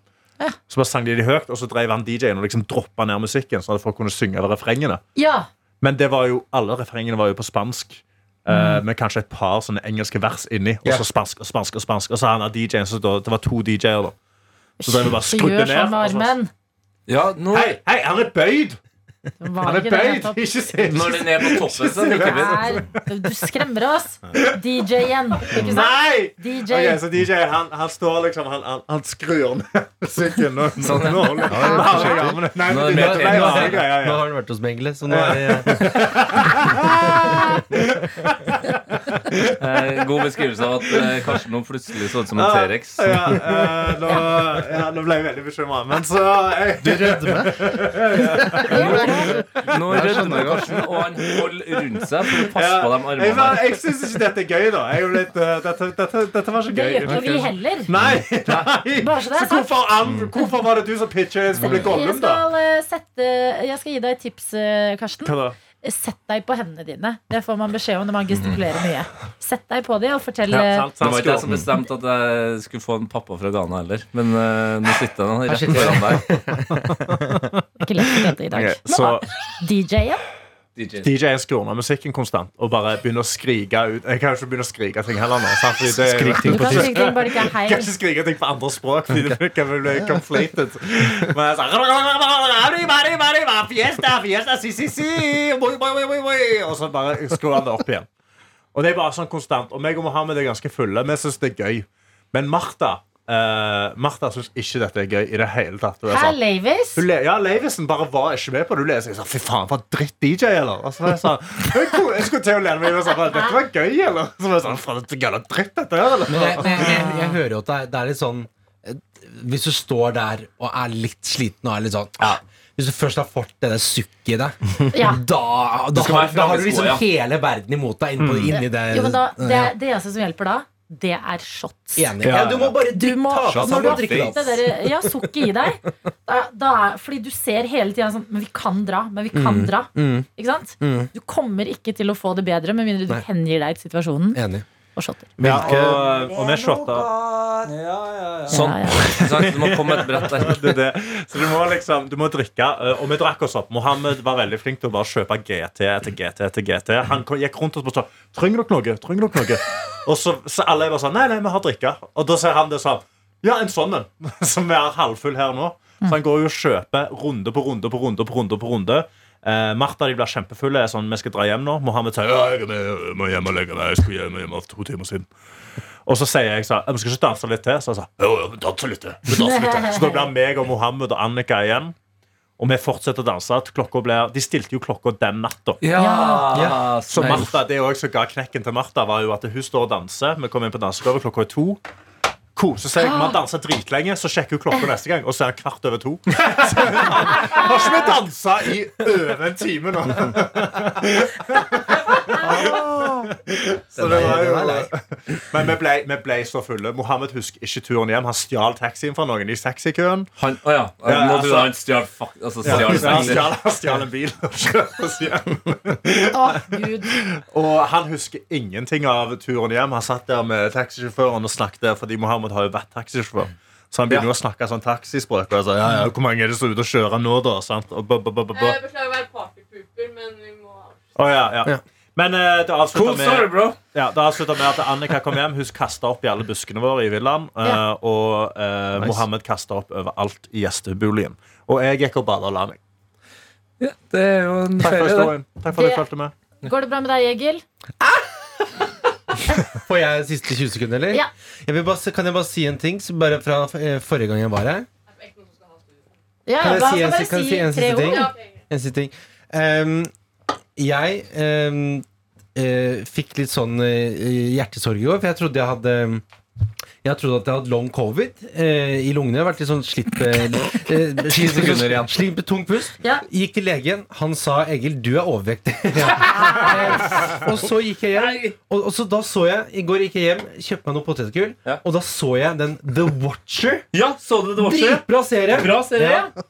[SPEAKER 5] Så bare sang de de høyt, og så drev han DJ-en og liksom droppa ned musikken, sånn at folk kunne synge over refrengene.
[SPEAKER 2] Ja.
[SPEAKER 5] Men det var jo, alle refrengene var jo på spansk. eh,
[SPEAKER 2] Mm.
[SPEAKER 5] Med kanskje et par sånne engelske vers inni. Og
[SPEAKER 4] Ja.
[SPEAKER 5] så spansk og spansk. og spansk Og så han der DJ-en, så da, det var to DJ-er, da. Så drev vi bare og
[SPEAKER 2] Ikke
[SPEAKER 5] skrudde
[SPEAKER 2] gjør
[SPEAKER 5] ned.
[SPEAKER 2] sånn med
[SPEAKER 5] og så-
[SPEAKER 2] armen.
[SPEAKER 3] Ja, nå,
[SPEAKER 5] Hei, hei, han er bøyd!
[SPEAKER 2] Det var
[SPEAKER 5] Han er
[SPEAKER 2] ikke det,
[SPEAKER 5] bøyd!
[SPEAKER 2] nettopp.
[SPEAKER 5] Ikke se!
[SPEAKER 3] når den er på toppen, så nikker vi.
[SPEAKER 2] Nei, Du skremmer oss. DJ-en, ikke sant?
[SPEAKER 5] Nei!
[SPEAKER 2] DJ.
[SPEAKER 5] Ok, så DJ, han, han står liksom Han, han, han skrur ned musikken. Nå, nå,
[SPEAKER 3] Sånn, ja.
[SPEAKER 5] nå, nå, har jeg armene. Nei,
[SPEAKER 3] Nå er
[SPEAKER 5] men
[SPEAKER 3] det mer-
[SPEAKER 5] det ble
[SPEAKER 3] nå er
[SPEAKER 5] rare
[SPEAKER 3] det-
[SPEAKER 5] greier.
[SPEAKER 4] Nå
[SPEAKER 5] ja.
[SPEAKER 4] har han vært hos Mengele, så nå er det
[SPEAKER 3] Eh, God beskrivelse av at eh, Karsten nå plutselig så ut som en
[SPEAKER 5] Ja,
[SPEAKER 3] T-rex.
[SPEAKER 5] Ja, eh, nå, ja, nå ble jeg veldig bekymra. Men så jeg,
[SPEAKER 6] Du rødmer.
[SPEAKER 3] Nå rødmer Karsten, og han holder rundt seg for å passe på de
[SPEAKER 5] ja, jeg,
[SPEAKER 3] armene.
[SPEAKER 5] var- jeg syns ikke dette er gøy, da. Jeg er jo litt, eh, dette, dette, dette var
[SPEAKER 2] Det
[SPEAKER 5] ikke
[SPEAKER 2] gjør
[SPEAKER 5] gøy.
[SPEAKER 2] ikke vi heller.
[SPEAKER 5] Nei! nei.
[SPEAKER 2] Bare så det er
[SPEAKER 5] Så hvorfor, an- hvorfor var det du som pitcha jeg skulle bli
[SPEAKER 2] Jeg
[SPEAKER 5] Gollum, da?
[SPEAKER 2] skal, eh, sette, jeg skal gi deg et tips, eh, Karsten.
[SPEAKER 5] Hva da?
[SPEAKER 2] Sett deg på hendene dine. Det får man beskjed om når man gestikulerer mye. Sett deg på dem og fortell eh,
[SPEAKER 5] Sant,
[SPEAKER 3] Det
[SPEAKER 5] sant,
[SPEAKER 3] var ikke jeg
[SPEAKER 5] skrur.
[SPEAKER 3] som bestemte at jeg skulle få en pappa fra Ghana heller. Men eh, nå sitter han rett foran deg.
[SPEAKER 2] Ikke lett å dette i dag.
[SPEAKER 5] Ok,
[SPEAKER 2] Men
[SPEAKER 5] så-
[SPEAKER 2] da, DJ-en?
[SPEAKER 3] DJ.
[SPEAKER 5] DJ-en skrur ned musikken konstant og bare begynner å skrike ut. Jeg kan jo ikke begynne å skrike ting heller nå. Sant? Fordi det,
[SPEAKER 6] Skrik
[SPEAKER 2] Du
[SPEAKER 6] ting på
[SPEAKER 2] kan
[SPEAKER 6] tysk.
[SPEAKER 2] skrike ting, bare ikke
[SPEAKER 5] jeg kan
[SPEAKER 2] heil.
[SPEAKER 5] ikke skrike ting på andre språk, fordi det kan vel bli conflated. Men jeg sa Fiesta, fiesta, si, si, si boy, boy, boy, boy, boy. Og så bare skrur han det opp igjen. Og det er bare sånn konstant. Og meg og Mohammed er ganske fulle. Vi syns det er gøy. Men Martha uh, Martha syns ikke dette er gøy i det hele tatt. Hun er
[SPEAKER 2] Herr
[SPEAKER 5] sånn,
[SPEAKER 2] Lavis.
[SPEAKER 5] hun le- Ja, Leivesen bare var ikke med på det. Hun leser jeg sa, fy faen, for en dritt DJ, eller? Og så var jeg sånn, jeg ko- jeg skulle til å lene meg og sa, dette var gøy, eller? Så var jeg sånn, faen, dette gøy, dritt dette her, eller?
[SPEAKER 4] Men jeg, jeg, jeg, jeg hører jo at det er, det er litt sånn eh, Hvis du står der og er litt sliten og er litt sånn ah, Hvis du først har fått det der sukket i deg,
[SPEAKER 2] Ja.
[SPEAKER 4] da, da,
[SPEAKER 3] skal
[SPEAKER 4] har, da har
[SPEAKER 3] være
[SPEAKER 4] du
[SPEAKER 3] fremme i
[SPEAKER 4] liksom
[SPEAKER 3] skoa, ja.
[SPEAKER 4] hele verden imot deg innpå,
[SPEAKER 5] Mm.
[SPEAKER 4] inni det.
[SPEAKER 2] Jo, men da, det,
[SPEAKER 4] Ja,
[SPEAKER 2] det eneste som hjelper da, det er shots.
[SPEAKER 4] Enig. Ja, du må bare
[SPEAKER 2] Du må,
[SPEAKER 4] ta
[SPEAKER 2] når du
[SPEAKER 4] sammen og
[SPEAKER 2] har
[SPEAKER 4] drikke det
[SPEAKER 2] fått det
[SPEAKER 4] opp.
[SPEAKER 2] der, ja, sukket i deg da, da er, Fordi du ser hele tiden sånn Men vi kan dra, men vi kan
[SPEAKER 4] Mm.
[SPEAKER 2] dra Ikke sant? Du kommer ikke til å få det bedre Med mindre du hengir deg til situasjonen
[SPEAKER 4] Enig.
[SPEAKER 2] og shotter
[SPEAKER 5] Ja, og, og vi shotta.
[SPEAKER 7] Ja, ja, ja.
[SPEAKER 3] Sånn.
[SPEAKER 2] Ja, ja.
[SPEAKER 3] Sant? Du må komme med et brett der.
[SPEAKER 5] Det, er det. Så du må liksom, du må drikke, eh, og vi drakk oss opp. Mohammed var veldig flink til å bare kjøpe GT etter GT etter GT. Han kom- gikk rundt oss og sa, trenger dere noe, trenger dere noe? Og så, så alle bare sånn, nei, nei, vi har drikka. Og da sier han det sånn, ja, en sånn en, som er halvfull her nå. Så han går jo og kjøper runde på runde på runde på runde på runde. Eh, Martha de blir kjempefulle. Er sånn, vi skal dra hjem nå. Mohammed sier ja, jeg er med, jeg må hjem og legge meg. Jeg skulle hjem, hjem for to timer siden. Og så sier jeg sånn, «Ja, vi skal ikke danse litt til. Så han sa jo, jo, vi danser litt til. Vi danser litt til. Så da blir meg og Mohammed og Annika igjen. Og vi fortsetter å danse. til Klokka blir, de stilte jo klokka den natta.
[SPEAKER 3] Ja,
[SPEAKER 5] Så
[SPEAKER 3] smell.
[SPEAKER 5] Martha, det også som ga knekken til Martha, var jo at hun står og danser. Vi kommer inn på dansegulvet klokka er to. Koser seg. Man danser dritlenge, så sjekker hun klokka neste gang, og så er han kvart over to. Så har ikke vi dansa i over en time nå? Så det var jo Men vi ble, vi ble så fulle. Mohammed husker ikke turen hjem. Han stjal taxien fra noen i taxikøen.
[SPEAKER 3] Han, å ja.
[SPEAKER 5] Ja,
[SPEAKER 3] Nå trodde
[SPEAKER 5] altså-
[SPEAKER 3] jeg han stjal fuck, altså,
[SPEAKER 5] Ja,
[SPEAKER 3] stjal
[SPEAKER 5] han
[SPEAKER 3] seg.
[SPEAKER 5] stjal- han stjal en bil og kjørte oss hjem.
[SPEAKER 2] Å, Gud.
[SPEAKER 5] Og han husker ingenting av turen hjem. Han satt der med taxisjåføren og snakket, fordi Mohammed har jo vært taxisjåfør. Så han begynner jo å snakke sånn taxispråk. Og jeg sa, ja, ja, hvor mange er det som er ute og kjører nå, da? Sant? Og ba, ba, ba, ba, ba.
[SPEAKER 10] Jeg beklager å være partypooper, men vi må avslutte.
[SPEAKER 5] Å, ja, ja. Men eh, det avslutta
[SPEAKER 3] Cool story,
[SPEAKER 5] med,
[SPEAKER 3] bro.
[SPEAKER 5] ja, det avslutta med at Annika kom hjem. Hun kasta opp i alle buskene våre i villaen. eh,
[SPEAKER 2] Ja.
[SPEAKER 5] Og eh, Mohammed kasta opp overalt i gjesteboligen. Og jeg gikk og bada og la meg.
[SPEAKER 3] Ja, det er jo en
[SPEAKER 5] Takk for
[SPEAKER 3] ferie, det.
[SPEAKER 5] historien. Takk for at
[SPEAKER 2] Det-
[SPEAKER 5] du fulgte med.
[SPEAKER 2] Går det bra med deg, Egil?
[SPEAKER 4] Får jeg siste 20 sekunder, eller?
[SPEAKER 2] Ja.
[SPEAKER 4] Jeg vil bare, se- kan jeg bare si en ting så bare fra eh, forrige gang jeg var her?
[SPEAKER 2] Ja,
[SPEAKER 4] Kan jeg
[SPEAKER 2] da
[SPEAKER 4] si
[SPEAKER 2] skal
[SPEAKER 4] en-
[SPEAKER 2] bare
[SPEAKER 4] kan jeg si en
[SPEAKER 2] tre
[SPEAKER 4] siste ting?
[SPEAKER 2] ord.
[SPEAKER 10] Ja, penger.
[SPEAKER 4] En siste ting. Ehm, jeg ehm, eh, fikk litt sånn eh, hjertesorg i går, for jeg trodde jeg hadde jeg trodde at jeg hadde long covid eh, i lungene. Jeg har Vært litt sånn slitt eh, eh, Ti
[SPEAKER 3] sekunder igjen.
[SPEAKER 4] Slitt med tung pust.
[SPEAKER 2] Ja.
[SPEAKER 4] Gikk til legen. Han sa 'Egil, du er overvektig'. Eh, og så gikk jeg hjem. Og, og så da så jeg I går gikk jeg hjem, kjøpte meg noe potetgull,
[SPEAKER 3] Ja.
[SPEAKER 4] og da så jeg den The Watcher.
[SPEAKER 3] Ja, så du det var
[SPEAKER 4] Dritbra serie!
[SPEAKER 3] Bra serie.
[SPEAKER 4] Ja.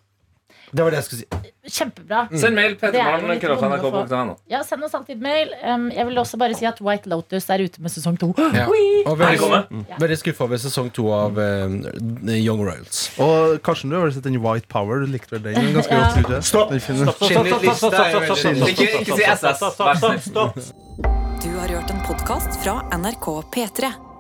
[SPEAKER 4] Det var det jeg skulle si.
[SPEAKER 2] Kjempebra.
[SPEAKER 4] Mm.
[SPEAKER 3] Send mail
[SPEAKER 2] Det er jo litt vondt å
[SPEAKER 3] ptmorgen.nrk.no.
[SPEAKER 2] Ja, Send oss alltid mail. Um, jeg vil også bare si at White Lotus er ute med sesong to.
[SPEAKER 4] Ja.
[SPEAKER 2] Oi!
[SPEAKER 4] Og veldig,
[SPEAKER 3] Velkommen.
[SPEAKER 4] mm. veldig skuffa over sesong to av eh, Young Royals.
[SPEAKER 6] Og Karsten, du har vel sett den White Power? Du likte vel den ganske godt? tror du ikke? Den finner-
[SPEAKER 3] Ikke, ikke si SS. Vær så snill.
[SPEAKER 1] Du har hørt en podkast fra NRK P3.